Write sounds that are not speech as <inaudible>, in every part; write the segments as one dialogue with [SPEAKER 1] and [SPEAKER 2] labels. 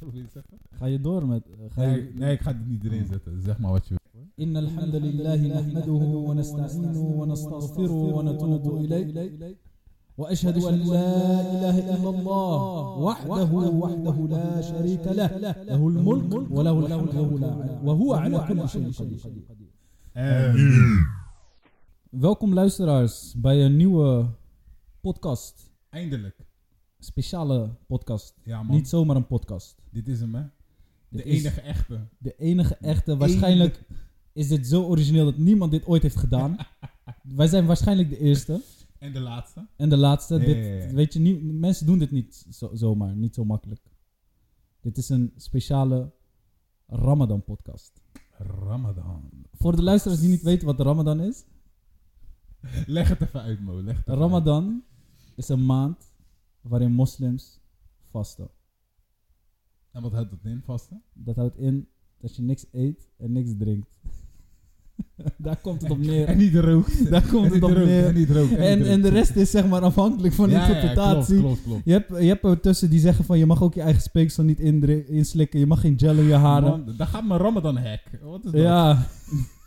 [SPEAKER 1] wil je zeggen?
[SPEAKER 2] Ga je door met... Ga je...
[SPEAKER 1] Nee, nee, ik ga het niet
[SPEAKER 3] Hmm.
[SPEAKER 1] erin zetten. Zeg maar wat je wil.
[SPEAKER 3] إن الحمد لله نحمده ونستعينه ونستغفره ونتوب إليه وأشهد أن لا إله إلا الله وحده وحده لا شريك له له الملك وله الحمد وله الع- وهو على كل شيء قدير Eh,
[SPEAKER 1] En
[SPEAKER 3] Welkom luisteraars bij een nieuwe podcast.
[SPEAKER 1] eindelijk.
[SPEAKER 3] Speciale podcast.
[SPEAKER 1] Ja man,
[SPEAKER 3] Niet zomaar een podcast.
[SPEAKER 1] dit is hem hè. De
[SPEAKER 3] Dit is
[SPEAKER 1] enige echte.
[SPEAKER 3] De enige echte, waarschijnlijk is dit zo origineel dat niemand dit ooit heeft
[SPEAKER 1] <laughs>
[SPEAKER 3] gedaan. Wij zijn waarschijnlijk de eerste.
[SPEAKER 1] En de laatste.
[SPEAKER 3] En de laatste,
[SPEAKER 1] Ja,
[SPEAKER 3] dit,
[SPEAKER 1] ja, ja.
[SPEAKER 3] weet je, nie- mensen doen dit niet zo, zomaar, niet zo makkelijk. Dit is een speciale Ramadan-podcast.
[SPEAKER 1] Ramadan.
[SPEAKER 3] Voor de luisteraars die niet weten wat Ramadan is.
[SPEAKER 1] Leg het even uit Mo. Leg het even uit.
[SPEAKER 3] Ramadan is een maand waarin moslims vasten.
[SPEAKER 1] En wat houdt dat in vasten?
[SPEAKER 3] Dat houdt in dat je niks eet en niks drinkt. <laughs> Daar komt het op
[SPEAKER 1] En
[SPEAKER 3] neer.
[SPEAKER 1] niet rookt.
[SPEAKER 3] Daar komt
[SPEAKER 1] En
[SPEAKER 3] het
[SPEAKER 1] niet
[SPEAKER 3] op
[SPEAKER 1] rookt. En
[SPEAKER 3] neer.
[SPEAKER 1] niet rookt. niet
[SPEAKER 3] En, en
[SPEAKER 1] rookt.
[SPEAKER 3] de rest is zeg maar afhankelijk van
[SPEAKER 1] Ja, ja,
[SPEAKER 3] interpretatie.
[SPEAKER 1] klopt, klopt, klopt.
[SPEAKER 3] Je hebt, je hebt er tussen die zeggen van je mag ook je eigen speeksel niet indri- inslikken. Je mag geen gel in je haren.
[SPEAKER 1] Man, daar gaat mijn Ramadan hack. Wat is dat?
[SPEAKER 3] ja,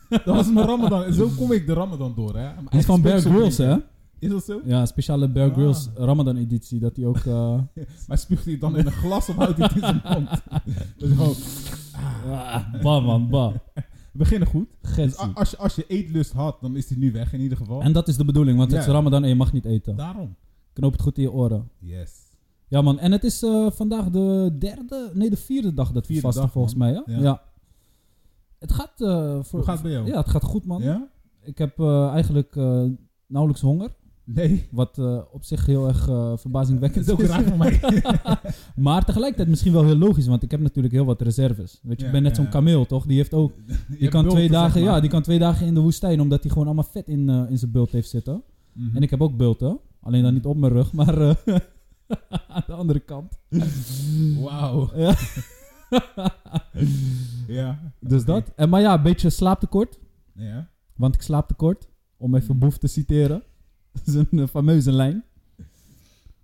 [SPEAKER 1] Dat was mijn Ramadan. Zo kom ik de Ramadan door hè. Mijn
[SPEAKER 3] die is
[SPEAKER 1] eigen
[SPEAKER 3] van Bear
[SPEAKER 1] speeksel
[SPEAKER 3] Grylls hè?
[SPEAKER 1] drinken. Is dat zo?
[SPEAKER 3] Ja, speciale Bear
[SPEAKER 1] Ah.
[SPEAKER 3] Grylls Ramadan editie. Dat hij ook... eh,
[SPEAKER 1] Maar spuugt hij het dan in een glas of houdt hij het in zijn mond? <laughs> Dat is gewoon...
[SPEAKER 3] ah, bah man, bah.
[SPEAKER 1] We beginnen goed. Dus a-
[SPEAKER 3] Getsie.
[SPEAKER 1] als, je, als je eetlust had, dan is die nu weg in ieder geval.
[SPEAKER 3] En dat is de bedoeling, want het
[SPEAKER 1] Ja.
[SPEAKER 3] is Ramadan en je mag niet eten.
[SPEAKER 1] Daarom.
[SPEAKER 3] Knoop het goed in je oren.
[SPEAKER 1] Yes.
[SPEAKER 3] Ja man, en het is eh, vandaag de derde, nee de vierde dag dat we
[SPEAKER 1] Vierde
[SPEAKER 3] vasten
[SPEAKER 1] dag,
[SPEAKER 3] volgens
[SPEAKER 1] man.
[SPEAKER 3] mij. Hè?
[SPEAKER 1] Ja.
[SPEAKER 3] Ja. Het gaat... eh, voor,
[SPEAKER 1] Hoe gaat het bij jou?
[SPEAKER 3] ja, het gaat goed man.
[SPEAKER 1] Ja?
[SPEAKER 3] Ik heb eh, eigenlijk eh, nauwelijks honger.
[SPEAKER 1] Nee. <laughs>
[SPEAKER 3] Wat eh, op zich heel erg eh,
[SPEAKER 1] Dat
[SPEAKER 3] verbazingwekkend
[SPEAKER 1] is ook
[SPEAKER 3] is.
[SPEAKER 1] raar <laughs> voor
[SPEAKER 3] <laughs>
[SPEAKER 1] mij.
[SPEAKER 3] Maar tegelijkertijd misschien wel heel logisch, want ik heb natuurlijk heel wat reserves. Weet
[SPEAKER 1] Ja,
[SPEAKER 3] je, ik ben net
[SPEAKER 1] ja,
[SPEAKER 3] zo'n
[SPEAKER 1] ja.
[SPEAKER 3] kameel, toch? Die heeft ook. Die kan, twee dagen, ja, die kan twee dagen in de woestijn, omdat hij gewoon allemaal vet in, eh, in zijn bult heeft zitten.
[SPEAKER 1] Mhm.
[SPEAKER 3] En ik heb ook bulten. Alleen dan niet op mijn rug, maar eh, <laughs> aan de andere kant.
[SPEAKER 1] Wauw.
[SPEAKER 3] Ja.
[SPEAKER 1] <laughs> ja.
[SPEAKER 3] Dus
[SPEAKER 1] Oké.
[SPEAKER 3] dat. En, maar ja, een beetje slaaptekort.
[SPEAKER 1] Ja.
[SPEAKER 3] Want ik slaap tekort. Om
[SPEAKER 1] Mhm.
[SPEAKER 3] even Boef te citeren. <laughs> Dat is een eh, fameuze lijn.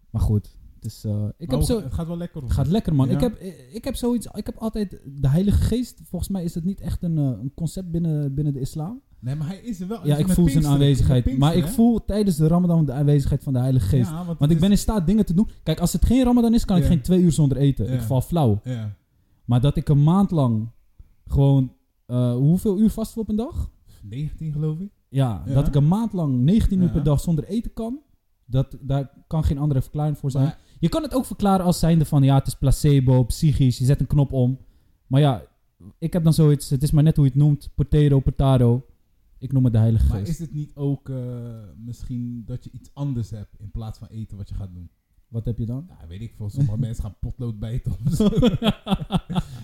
[SPEAKER 3] Maar goed. Het, is, eh, ik
[SPEAKER 1] Maar
[SPEAKER 3] heb
[SPEAKER 1] hoe-
[SPEAKER 3] zo,
[SPEAKER 1] Het gaat wel lekker. of
[SPEAKER 3] het gaat lekker, man.
[SPEAKER 1] Ja.
[SPEAKER 3] Ik, heb, ik heb zoiets... Ik heb altijd... De Heilige Geest, volgens mij is dat niet echt een, eh, een concept binnen, binnen de islam.
[SPEAKER 1] niet? Nee, maar hij is er wel. Het
[SPEAKER 3] Ja,
[SPEAKER 1] Oh, is
[SPEAKER 3] ik
[SPEAKER 1] met
[SPEAKER 3] voel zijn
[SPEAKER 1] Pinksteren.
[SPEAKER 3] aanwezigheid.
[SPEAKER 1] Met
[SPEAKER 3] maar ik
[SPEAKER 1] Pinksteren,
[SPEAKER 3] voel tijdens de ramadan de aanwezigheid van de Heilige
[SPEAKER 1] hè?
[SPEAKER 3] Geest.
[SPEAKER 1] Ja,
[SPEAKER 3] Want ik
[SPEAKER 1] het
[SPEAKER 3] ben
[SPEAKER 1] is-
[SPEAKER 3] in staat dingen te doen. Kijk, als het geen ramadan is, kan ik
[SPEAKER 1] Ja.
[SPEAKER 3] geen twee uur zonder eten. Ik
[SPEAKER 1] Ja.
[SPEAKER 3] val flauw.
[SPEAKER 1] Ja.
[SPEAKER 3] Maar dat ik een maand lang gewoon... eh, hoeveel uur vast op een dag?
[SPEAKER 1] 19 geloof ik.
[SPEAKER 3] Ja,
[SPEAKER 1] Ja.
[SPEAKER 3] dat ik een maand lang 19 uur
[SPEAKER 1] Ja.
[SPEAKER 3] per dag zonder eten kan. Dat, daar kan geen andere verklaring voor zijn.
[SPEAKER 1] Maar-
[SPEAKER 3] Je kan het ook verklaren als zijnde van... Ja, het is placebo, psychisch. Je zet een knop om. Maar ja, ik heb dan zoiets... Het is maar net hoe je het noemt. Potero, potaro. Ik noem het de heilige
[SPEAKER 1] Maar
[SPEAKER 3] geest.
[SPEAKER 1] is het niet ook eh, misschien dat je iets anders hebt in plaats van eten wat je gaat doen?
[SPEAKER 3] Wat heb je <laughs> dan?
[SPEAKER 1] Ja, weet ik veel. Sommige <laughs> mensen gaan potlood bijten of zo.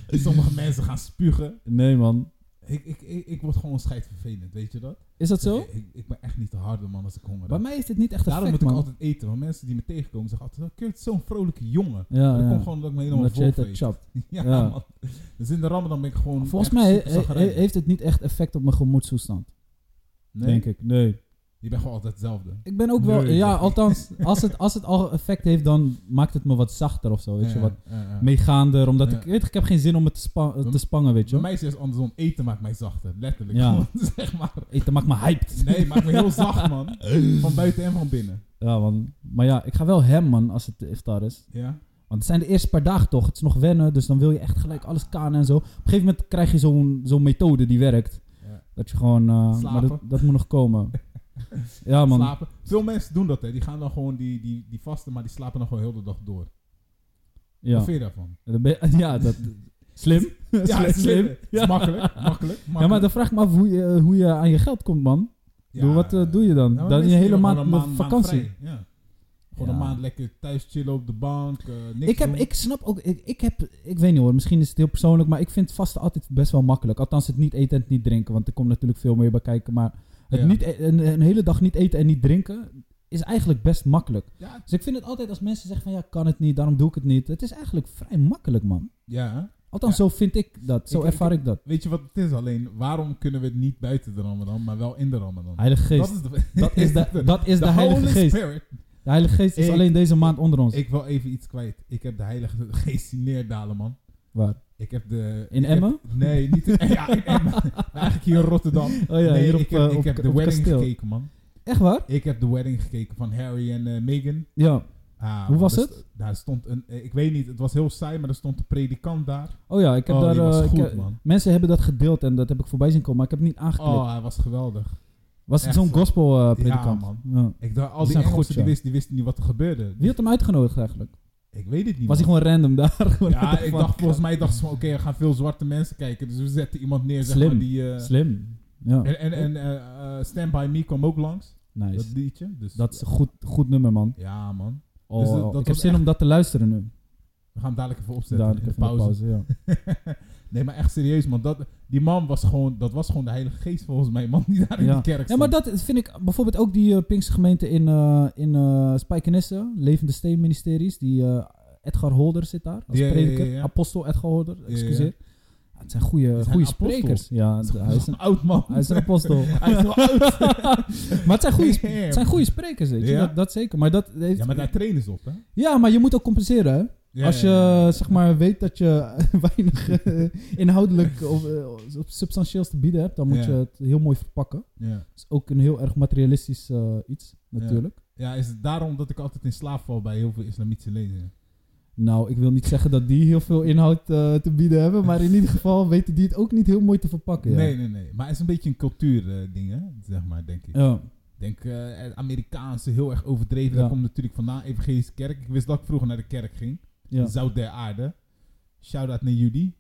[SPEAKER 1] Sommige mensen gaan spugen.
[SPEAKER 3] Nee, man.
[SPEAKER 1] Ik, ik, ik, ik word gewoon scheidvervelend, weet je dat?
[SPEAKER 3] Is dat zo?
[SPEAKER 1] Ik, ik, ik ben echt niet de harde man als ik honger
[SPEAKER 3] Bij
[SPEAKER 1] heb.
[SPEAKER 3] mij is dit niet echt een
[SPEAKER 1] Daarom
[SPEAKER 3] fact,
[SPEAKER 1] moet ik
[SPEAKER 3] man.
[SPEAKER 1] altijd eten. Want mensen die me tegenkomen zeggen altijd, "Oh, "Kurt, zo'n vrolijke jongen.
[SPEAKER 3] Oh, ja,
[SPEAKER 1] dat
[SPEAKER 3] ja.
[SPEAKER 1] komt gewoon dat ik me helemaal
[SPEAKER 3] Omdat je
[SPEAKER 1] vol
[SPEAKER 3] het hebt
[SPEAKER 1] eet.
[SPEAKER 3] chapt.
[SPEAKER 1] <laughs> Ja,
[SPEAKER 3] Ja.
[SPEAKER 1] man. Dus in de ramadan ben ik gewoon
[SPEAKER 3] Volgens
[SPEAKER 1] echt
[SPEAKER 3] mij
[SPEAKER 1] super
[SPEAKER 3] he- he-
[SPEAKER 1] chagrijnig.
[SPEAKER 3] heeft het niet echt effect op mijn gemoedstoestand.
[SPEAKER 1] Nee?
[SPEAKER 3] Denk ik. Nee.
[SPEAKER 1] Je bent gewoon altijd hetzelfde.
[SPEAKER 3] Ik ben ook wel...
[SPEAKER 1] Nee,
[SPEAKER 3] ja,
[SPEAKER 1] zeg ik.
[SPEAKER 3] althans, <laughs> als het, als het al effect heeft, dan maakt het me wat zachter of zo. Weet je,
[SPEAKER 1] Ja,
[SPEAKER 3] wat
[SPEAKER 1] ja, ja.
[SPEAKER 3] meegaander. Omdat
[SPEAKER 1] Ja.
[SPEAKER 3] ik... Weet, je, ik heb geen zin om het te, spa-
[SPEAKER 1] Bij-
[SPEAKER 3] te spangen, weet
[SPEAKER 1] Bij
[SPEAKER 3] je.
[SPEAKER 1] mij is het juist andersom. Eten maakt mij zachter, letterlijk.
[SPEAKER 3] Ja.
[SPEAKER 1] <laughs> zeg maar.
[SPEAKER 3] Eten maakt me hyped.
[SPEAKER 1] Nee, maakt me heel zacht,
[SPEAKER 3] <laughs>
[SPEAKER 1] man. Van buiten en van binnen.
[SPEAKER 3] Ja, man. Maar ja, ik ga wel hem, man, als het de iftar is.
[SPEAKER 1] Ja.
[SPEAKER 3] Want het zijn de eerste paar dagen toch. Het is nog wennen, dus dan wil je echt gelijk alles kanen en zo. Op een gegeven moment krijg je zo'n zo'n methode die werkt.
[SPEAKER 1] Ja.
[SPEAKER 3] Dat je gewoon... eh, maar dat,
[SPEAKER 1] Slapen.
[SPEAKER 3] dat moet nog komen. Ja, man.
[SPEAKER 1] Slapen. Veel mensen doen dat, hè. Die gaan dan gewoon die, die, die vasten, maar die slapen dan gewoon heel de dag door.
[SPEAKER 3] Ja.
[SPEAKER 1] Wat vind je daarvan?
[SPEAKER 3] Dan ben je- ja, dat... Slim.
[SPEAKER 1] Ja,
[SPEAKER 3] <laughs> slim.
[SPEAKER 1] het is slim.
[SPEAKER 3] slim.
[SPEAKER 1] Het is makkelijk, makkelijk,
[SPEAKER 3] Ja, maar dan vraag ik me af hoe je, eh, hoe je aan je geld komt, man.
[SPEAKER 1] Ja, Nou,
[SPEAKER 3] Doe, wat eh, doe je dan?
[SPEAKER 1] ja, maar
[SPEAKER 3] dan je
[SPEAKER 1] mensen
[SPEAKER 3] hele
[SPEAKER 1] hebben
[SPEAKER 3] maand,
[SPEAKER 1] gewoon een
[SPEAKER 3] met vakantie.
[SPEAKER 1] vrij, ja. Gewoon een
[SPEAKER 3] Ja.
[SPEAKER 1] maand lekker thuis chillen op de bank, eh, niks
[SPEAKER 3] ik, heb,
[SPEAKER 1] doen.
[SPEAKER 3] ik snap ook, ik, ik heb, ik weet niet hoor, misschien is het heel persoonlijk, maar ik vind vasten altijd best wel makkelijk. Althans, het niet eten en het niet drinken, want er komt natuurlijk veel meer bij kijken. Maar het
[SPEAKER 1] Ja.
[SPEAKER 3] niet, e- een, een hele dag niet eten en niet drinken is eigenlijk best makkelijk.
[SPEAKER 1] Ja,
[SPEAKER 3] Dus ik vind het altijd als mensen zeggen van ja, kan het niet, daarom doe ik het niet. Het is eigenlijk vrij makkelijk, man.
[SPEAKER 1] ja. hè.
[SPEAKER 3] Althans,
[SPEAKER 1] Ja.
[SPEAKER 3] zo vind ik dat, zo
[SPEAKER 1] Ik- ik-
[SPEAKER 3] ervaar ik, dat.
[SPEAKER 1] Weet je wat het is alleen? Waarom kunnen we het niet buiten de ramadan, maar wel in de ramadan?
[SPEAKER 3] Heilige Geest,
[SPEAKER 1] dat is de,
[SPEAKER 3] <laughs> dat
[SPEAKER 1] <laughs>
[SPEAKER 3] is de, dat is de
[SPEAKER 1] The
[SPEAKER 3] Heilige
[SPEAKER 1] Holy
[SPEAKER 3] Geest.
[SPEAKER 1] Spirit.
[SPEAKER 3] De Heilige Geest is
[SPEAKER 1] Ik-
[SPEAKER 3] alleen deze maand onder ons.
[SPEAKER 1] Ik wil even iets kwijt. Ik heb de heilige geest zien neerdalen, man.
[SPEAKER 3] Waar?
[SPEAKER 1] Ik heb de...
[SPEAKER 3] In
[SPEAKER 1] ik heb-
[SPEAKER 3] Emmen?
[SPEAKER 1] nee, niet
[SPEAKER 3] <laughs>
[SPEAKER 1] in, ja, in Emmen. Maar eigenlijk hier in Rotterdam.
[SPEAKER 3] Oh ja,
[SPEAKER 1] nee,
[SPEAKER 3] hier op,
[SPEAKER 1] ik heb,
[SPEAKER 3] eh,
[SPEAKER 1] ik
[SPEAKER 3] op-
[SPEAKER 1] heb de
[SPEAKER 3] op
[SPEAKER 1] wedding
[SPEAKER 3] kasteel.
[SPEAKER 1] gekeken, man.
[SPEAKER 3] Echt waar?
[SPEAKER 1] Ik heb de wedding gekeken van Harry en eh, Meghan.
[SPEAKER 3] Ja.
[SPEAKER 1] Ah,
[SPEAKER 3] Hoe was
[SPEAKER 1] daar st- Daar stond een... eh, Ik weet niet, het was heel saai, maar er stond een predikant daar.
[SPEAKER 3] Oh ja, ik heb
[SPEAKER 1] Oh,
[SPEAKER 3] daar...
[SPEAKER 1] die was
[SPEAKER 3] eh, ik
[SPEAKER 1] goed,
[SPEAKER 3] heb-
[SPEAKER 1] man.
[SPEAKER 3] Mensen hebben dat gedeeld en dat heb ik voorbij zien komen, maar ik heb het niet aangeklikt.
[SPEAKER 1] Oh, hij was geweldig.
[SPEAKER 3] was het
[SPEAKER 1] echt.
[SPEAKER 3] zo'n gospel eh, predikant?
[SPEAKER 1] Ja, man.
[SPEAKER 3] Ja.
[SPEAKER 1] Ik dacht, al
[SPEAKER 3] Die
[SPEAKER 1] die,
[SPEAKER 3] zijn
[SPEAKER 1] Engelsen
[SPEAKER 3] goed,
[SPEAKER 1] die,
[SPEAKER 3] ja.
[SPEAKER 1] wisten, die wisten niet wat er gebeurde.
[SPEAKER 3] Wie had hem uitgenodigd eigenlijk?
[SPEAKER 1] Ik weet het niet,
[SPEAKER 3] Was hij
[SPEAKER 1] man.
[SPEAKER 3] gewoon random daar? <laughs> Gewoon
[SPEAKER 1] Ja, ik
[SPEAKER 3] van-
[SPEAKER 1] dacht, volgens mij dachten ze van, oké, er gaan veel zwarte mensen kijken. Dus we zetten iemand neer, zeg
[SPEAKER 3] Slim.
[SPEAKER 1] maar, die... eh,
[SPEAKER 3] Slim. Ja,
[SPEAKER 1] En, en, en eh, eh, Stand By Me kwam ook langs, dat
[SPEAKER 3] nice.
[SPEAKER 1] liedje. Dus
[SPEAKER 3] Dat is een goed, goed nummer, man.
[SPEAKER 1] Ja, man.
[SPEAKER 3] Oh,
[SPEAKER 1] Dus dat- dat
[SPEAKER 3] ik heb
[SPEAKER 1] was
[SPEAKER 3] zin
[SPEAKER 1] echt-
[SPEAKER 3] om dat te luisteren nu.
[SPEAKER 1] We gaan hem dadelijk even opzetten
[SPEAKER 3] Dadelijk
[SPEAKER 1] in de
[SPEAKER 3] even de
[SPEAKER 1] pauze.
[SPEAKER 3] pauze. Ja.
[SPEAKER 1] <laughs> nee, maar echt serieus, man. Dat, die man was gewoon, dat was gewoon de heilige geest volgens mij, man, die daar in
[SPEAKER 3] Ja.
[SPEAKER 1] die kerk
[SPEAKER 3] ja,
[SPEAKER 1] stond.
[SPEAKER 3] maar dat vind ik bijvoorbeeld ook die eh, Pinkse gemeente in, eh in eh, Spijkenisse, Levende Steen Ministeries. Die eh, Edgar Holder zit daar als
[SPEAKER 1] Ja, ja, ja,
[SPEAKER 3] prediker.
[SPEAKER 1] ja.
[SPEAKER 3] Apostel Edgar Holder,
[SPEAKER 1] ja.
[SPEAKER 3] excuseer. Ja, het zijn goede,
[SPEAKER 1] Het zijn
[SPEAKER 3] goede
[SPEAKER 1] apostels.
[SPEAKER 3] sprekers. Ja, d- hij is een,
[SPEAKER 1] oud man.
[SPEAKER 3] hij is een apostel.
[SPEAKER 1] <laughs> Hij is wel oud.
[SPEAKER 3] <laughs> maar het zijn goede, sp-
[SPEAKER 1] Damn.
[SPEAKER 3] het zijn goede sprekers, weet je.
[SPEAKER 1] Ja.
[SPEAKER 3] Dat, dat zeker. Maar, dat heeft,
[SPEAKER 1] Ja, maar daar trainen ze op, hè?
[SPEAKER 3] Ja, maar je moet ook compenseren, hè?
[SPEAKER 1] Ja,
[SPEAKER 3] Als je
[SPEAKER 1] ja, ja.
[SPEAKER 3] eh, zeg maar weet dat je <laughs> weinig eh, inhoudelijk of eh, substantieels te bieden hebt, dan moet
[SPEAKER 1] Ja.
[SPEAKER 3] je het heel mooi verpakken.
[SPEAKER 1] Ja.
[SPEAKER 3] Dat is ook een heel erg materialistisch eh, iets, natuurlijk.
[SPEAKER 1] Ja, is het daarom dat ik altijd in slaap val bij heel veel islamitische lezingen?
[SPEAKER 3] Nou, ik wil niet zeggen dat die heel veel inhoud eh, te bieden hebben, maar in ieder geval weten die het ook niet heel mooi te verpakken. Ja.
[SPEAKER 1] Nee, nee, nee. Maar het is een beetje een cultuurding, hè? Zeg maar, denk ik.
[SPEAKER 3] Ja.
[SPEAKER 1] denk eh, het Amerikaanse heel erg overdreven.
[SPEAKER 3] Ja.
[SPEAKER 1] Dat komt natuurlijk vandaan, evangelische kerk. Ik wist dat ik vroeger naar de kerk ging.
[SPEAKER 3] ja.
[SPEAKER 1] Zout der aarde. Shout-out naar jullie.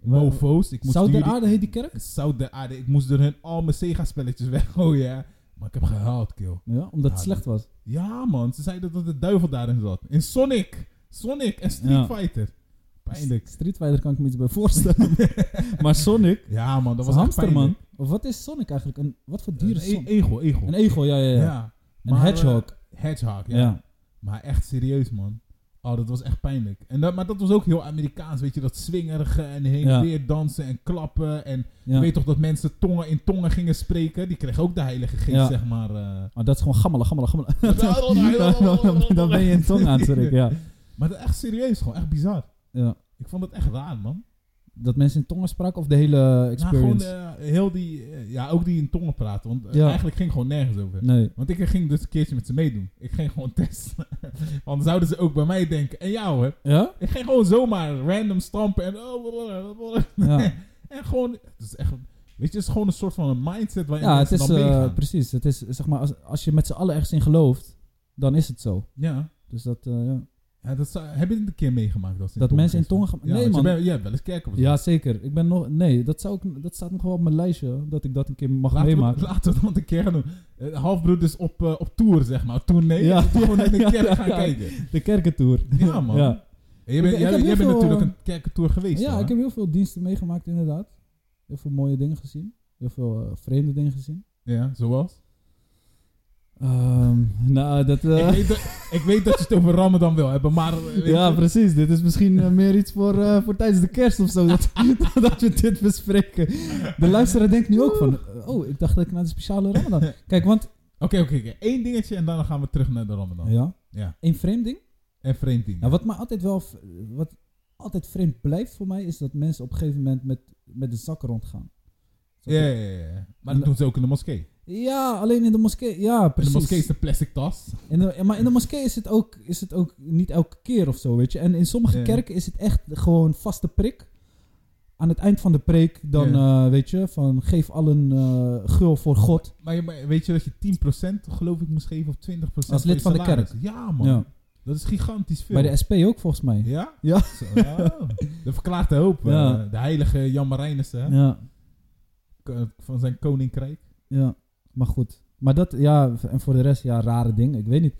[SPEAKER 3] Wa-
[SPEAKER 1] Mofo's. Ik moest
[SPEAKER 3] Zout der
[SPEAKER 1] jullie-
[SPEAKER 3] Aarde heet die kerk?
[SPEAKER 1] Zout der aarde. Ik moest door hun al mijn Sega-spelletjes weggooien. hè. Maar ik heb gehuild, kill.
[SPEAKER 3] Ja, omdat het
[SPEAKER 1] Ja,
[SPEAKER 3] slecht was.
[SPEAKER 1] Ja, man. Ze zeiden dat de duivel daarin zat. In Sonic. Sonic en Street
[SPEAKER 3] Ja.
[SPEAKER 1] Fighter. Pijnlijk.
[SPEAKER 3] Street Fighter kan ik me iets bij voorstellen. <laughs> maar Sonic,
[SPEAKER 1] Ja, man. Dat
[SPEAKER 3] dat
[SPEAKER 1] was
[SPEAKER 3] was
[SPEAKER 1] echt
[SPEAKER 3] hamster, man.
[SPEAKER 1] pijnlijk.
[SPEAKER 3] Of wat is Sonic eigenlijk? Een, wat voor dier
[SPEAKER 1] Een
[SPEAKER 3] is
[SPEAKER 1] e-
[SPEAKER 3] Sonic?
[SPEAKER 1] egel, egel.
[SPEAKER 3] Een egel, ja, ja, ja. Een
[SPEAKER 1] Maar, eh,
[SPEAKER 3] hedgehog.
[SPEAKER 1] Hedgehog, ja.
[SPEAKER 3] ja.
[SPEAKER 1] Maar echt serieus, man. Oh, dat was echt pijnlijk. En dat, maar dat was ook heel Amerikaans, weet je. Dat swingerige en heen en
[SPEAKER 3] Ja.
[SPEAKER 1] weer dansen en klappen. En
[SPEAKER 3] ja.
[SPEAKER 1] je weet toch dat mensen tongen in tongen gingen spreken? Die kregen ook de heilige geest,
[SPEAKER 3] Ja.
[SPEAKER 1] zeg maar. eh.
[SPEAKER 3] Maar dat is gewoon gammelen, gammelen,
[SPEAKER 1] <laughs>
[SPEAKER 3] <laughs> gammelen. Dan ben je een tong aan het spreken, ja.
[SPEAKER 1] Maar dat echt serieus, gewoon echt bizar.
[SPEAKER 3] ja.
[SPEAKER 1] Ik vond het echt raar, man.
[SPEAKER 3] Dat mensen in tongen spraken of de hele
[SPEAKER 1] Nou, gewoon
[SPEAKER 3] experience?
[SPEAKER 1] eh, heel die... eh, ja, ook die in tongen praten. Want eh,
[SPEAKER 3] Ja.
[SPEAKER 1] eigenlijk ging gewoon nergens over.
[SPEAKER 3] nee.
[SPEAKER 1] Want ik ging dus een keertje met ze meedoen. Ik ging gewoon <laughs> testen. Want zouden ze ook bij mij denken. En jou, hè?
[SPEAKER 3] Ja?
[SPEAKER 1] Ik ging gewoon zomaar random stampen en oh, blablabla, blablabla. <laughs>
[SPEAKER 3] Ja,
[SPEAKER 1] en gewoon, het is echt, weet je, het is gewoon een soort van een mindset waarin
[SPEAKER 3] ja het
[SPEAKER 1] mensen
[SPEAKER 3] is
[SPEAKER 1] dan
[SPEAKER 3] eh,
[SPEAKER 1] meegaan.
[SPEAKER 3] precies. Het is zeg maar, als, als je met z'n allen ergens in gelooft, dan is het zo.
[SPEAKER 1] ja.
[SPEAKER 3] Dus dat, eh, ja.
[SPEAKER 1] ja dat zou, heb je het een keer meegemaakt? Als
[SPEAKER 3] dat mensen in tongen gaan.
[SPEAKER 1] Ja,
[SPEAKER 3] nee,
[SPEAKER 1] want
[SPEAKER 3] man.
[SPEAKER 1] Je, bent- je hebt wel eens kerken bezocht.
[SPEAKER 3] Ja, zeker. Ik ben nog. Nee, dat, zou ik, dat staat nog wel op mijn lijstje. Dat ik dat een keer mag
[SPEAKER 1] Laten we,
[SPEAKER 3] meemaken.
[SPEAKER 1] laten we dat een keer gaan doen. Eh, Halfbroeders op, eh, op tour, zeg maar. Toen nee,
[SPEAKER 3] Ja.
[SPEAKER 1] ja. gewoon in de
[SPEAKER 3] <laughs> Ja,
[SPEAKER 1] kerk
[SPEAKER 3] ja,
[SPEAKER 1] gaan
[SPEAKER 3] ja.
[SPEAKER 1] kijken.
[SPEAKER 3] De kerkentour.
[SPEAKER 1] Ja, man.
[SPEAKER 3] Ja,
[SPEAKER 1] En Je bent,
[SPEAKER 3] Ik- ik
[SPEAKER 1] jij,
[SPEAKER 3] heb heel
[SPEAKER 1] jij bent
[SPEAKER 3] veel,
[SPEAKER 1] natuurlijk
[SPEAKER 3] eh,
[SPEAKER 1] een kerkentour geweest.
[SPEAKER 3] ja
[SPEAKER 1] hoor.
[SPEAKER 3] ik heb heel veel diensten meegemaakt, inderdaad. Heel veel mooie dingen gezien. Heel veel eh, vreemde dingen gezien.
[SPEAKER 1] ja zoals?
[SPEAKER 3] Ehm, nou, dat. eh, <laughs>
[SPEAKER 1] Ik, weet dat, ik weet dat je het over Ramadan wil hebben, maar... eh, weet
[SPEAKER 3] ja,
[SPEAKER 1] je-
[SPEAKER 3] precies. Dit is misschien eh, meer iets voor, eh, voor tijdens de kerst of zo. Dat, <laughs> dat we dit bespreken. De luisteraar denkt nu ook van. eh, Oh, ik dacht dat ik naar de speciale Ramadan. Kijk, want. nou
[SPEAKER 1] Oké, oké, oké. Eén dingetje en daarna gaan we terug naar de Ramadan.
[SPEAKER 3] Ja.
[SPEAKER 1] Ja.
[SPEAKER 3] Een vreemd ding.
[SPEAKER 1] En vreemd ding.
[SPEAKER 3] Nou, wat mij altijd wel. v- Wat altijd vreemd blijft voor mij. Is dat mensen op een gegeven moment met, met de zakken rondgaan.
[SPEAKER 1] Ja, ja, ja, ja. Maar dat doen ze ook in de moskee.
[SPEAKER 3] Ja, alleen in de moskee. Ja,
[SPEAKER 1] In de
[SPEAKER 3] precies.
[SPEAKER 1] moskee is de plastic tas.
[SPEAKER 3] In de- maar in de moskee is het, ook, is het ook niet elke keer of zo, weet je. En in sommige
[SPEAKER 1] Ja.
[SPEAKER 3] kerken is het echt gewoon vaste prik. Aan het eind van de preek, dan eh, weet je, van geef allen eh gul voor God.
[SPEAKER 1] Maar, je- maar weet je dat je 10% geloof ik moest geven of 20%?
[SPEAKER 3] Als lid
[SPEAKER 1] je
[SPEAKER 3] van de
[SPEAKER 1] salaris? Ja man,
[SPEAKER 3] Ja.
[SPEAKER 1] dat is gigantisch veel.
[SPEAKER 3] Bij de SP ook volgens mij. Ja,
[SPEAKER 1] Ja?
[SPEAKER 3] Ja.
[SPEAKER 1] Zo, ja. Dat verklaart de hoop. eh,
[SPEAKER 3] Ja.
[SPEAKER 1] de heilige Jan Marijnissen hè,
[SPEAKER 3] <laughs> ja.
[SPEAKER 1] k- van zijn koninkrijk.
[SPEAKER 3] Maar goed. Maar dat, ja, en voor de rest, ja, rare dingen. Ik weet niet.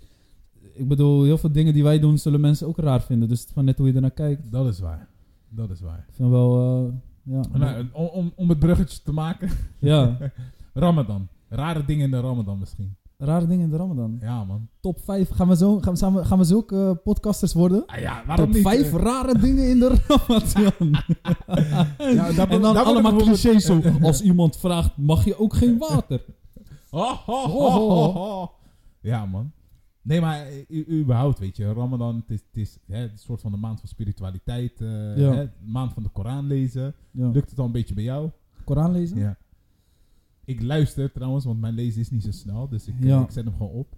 [SPEAKER 3] Ik bedoel, heel veel dingen die wij doen, zullen mensen ook raar vinden. Dus het is van net hoe je ernaar kijkt.
[SPEAKER 1] Dat is waar. Dat is waar.
[SPEAKER 3] Ik vind wel, eh, ja.
[SPEAKER 1] Nou, om, om, om het bruggetje te maken.
[SPEAKER 3] ja,
[SPEAKER 1] <laughs> Ramadan. Rare dingen in de Ramadan misschien.
[SPEAKER 3] rare dingen in de Ramadan.
[SPEAKER 1] Ja man.
[SPEAKER 3] Top 5. Gaan we, zo, gaan we, samen- gaan we zulke eh, podcasters worden?
[SPEAKER 1] Ah, ja, waarom
[SPEAKER 3] Top
[SPEAKER 1] niet?
[SPEAKER 3] vijf
[SPEAKER 1] eh?
[SPEAKER 3] rare dingen in de <laughs>
[SPEAKER 1] <laughs>
[SPEAKER 3] Ramadan.
[SPEAKER 1] Ja, daar-
[SPEAKER 3] en
[SPEAKER 1] daar
[SPEAKER 3] dan
[SPEAKER 1] worden
[SPEAKER 3] allemaal
[SPEAKER 1] we-
[SPEAKER 3] clichés zo.
[SPEAKER 1] <laughs>
[SPEAKER 3] Als iemand vraagt, mag je ook geen water?
[SPEAKER 1] Ho, ho, ho,
[SPEAKER 3] Ho,
[SPEAKER 1] ho,
[SPEAKER 3] ho,
[SPEAKER 1] ho. Ja man. Nee, maar u- u- überhaupt, weet je, Ramadan, het is, het is hè, een soort van de maand van spiritualiteit, eh,
[SPEAKER 3] Ja.
[SPEAKER 1] hè, maand van de Koran lezen.
[SPEAKER 3] Ja.
[SPEAKER 1] Lukt het al een beetje bij jou?
[SPEAKER 3] Koran lezen?
[SPEAKER 1] Ja. Ik luister trouwens, want mijn lezen is niet zo snel, dus ik, eh,
[SPEAKER 3] Ja.
[SPEAKER 1] ik zet hem gewoon op.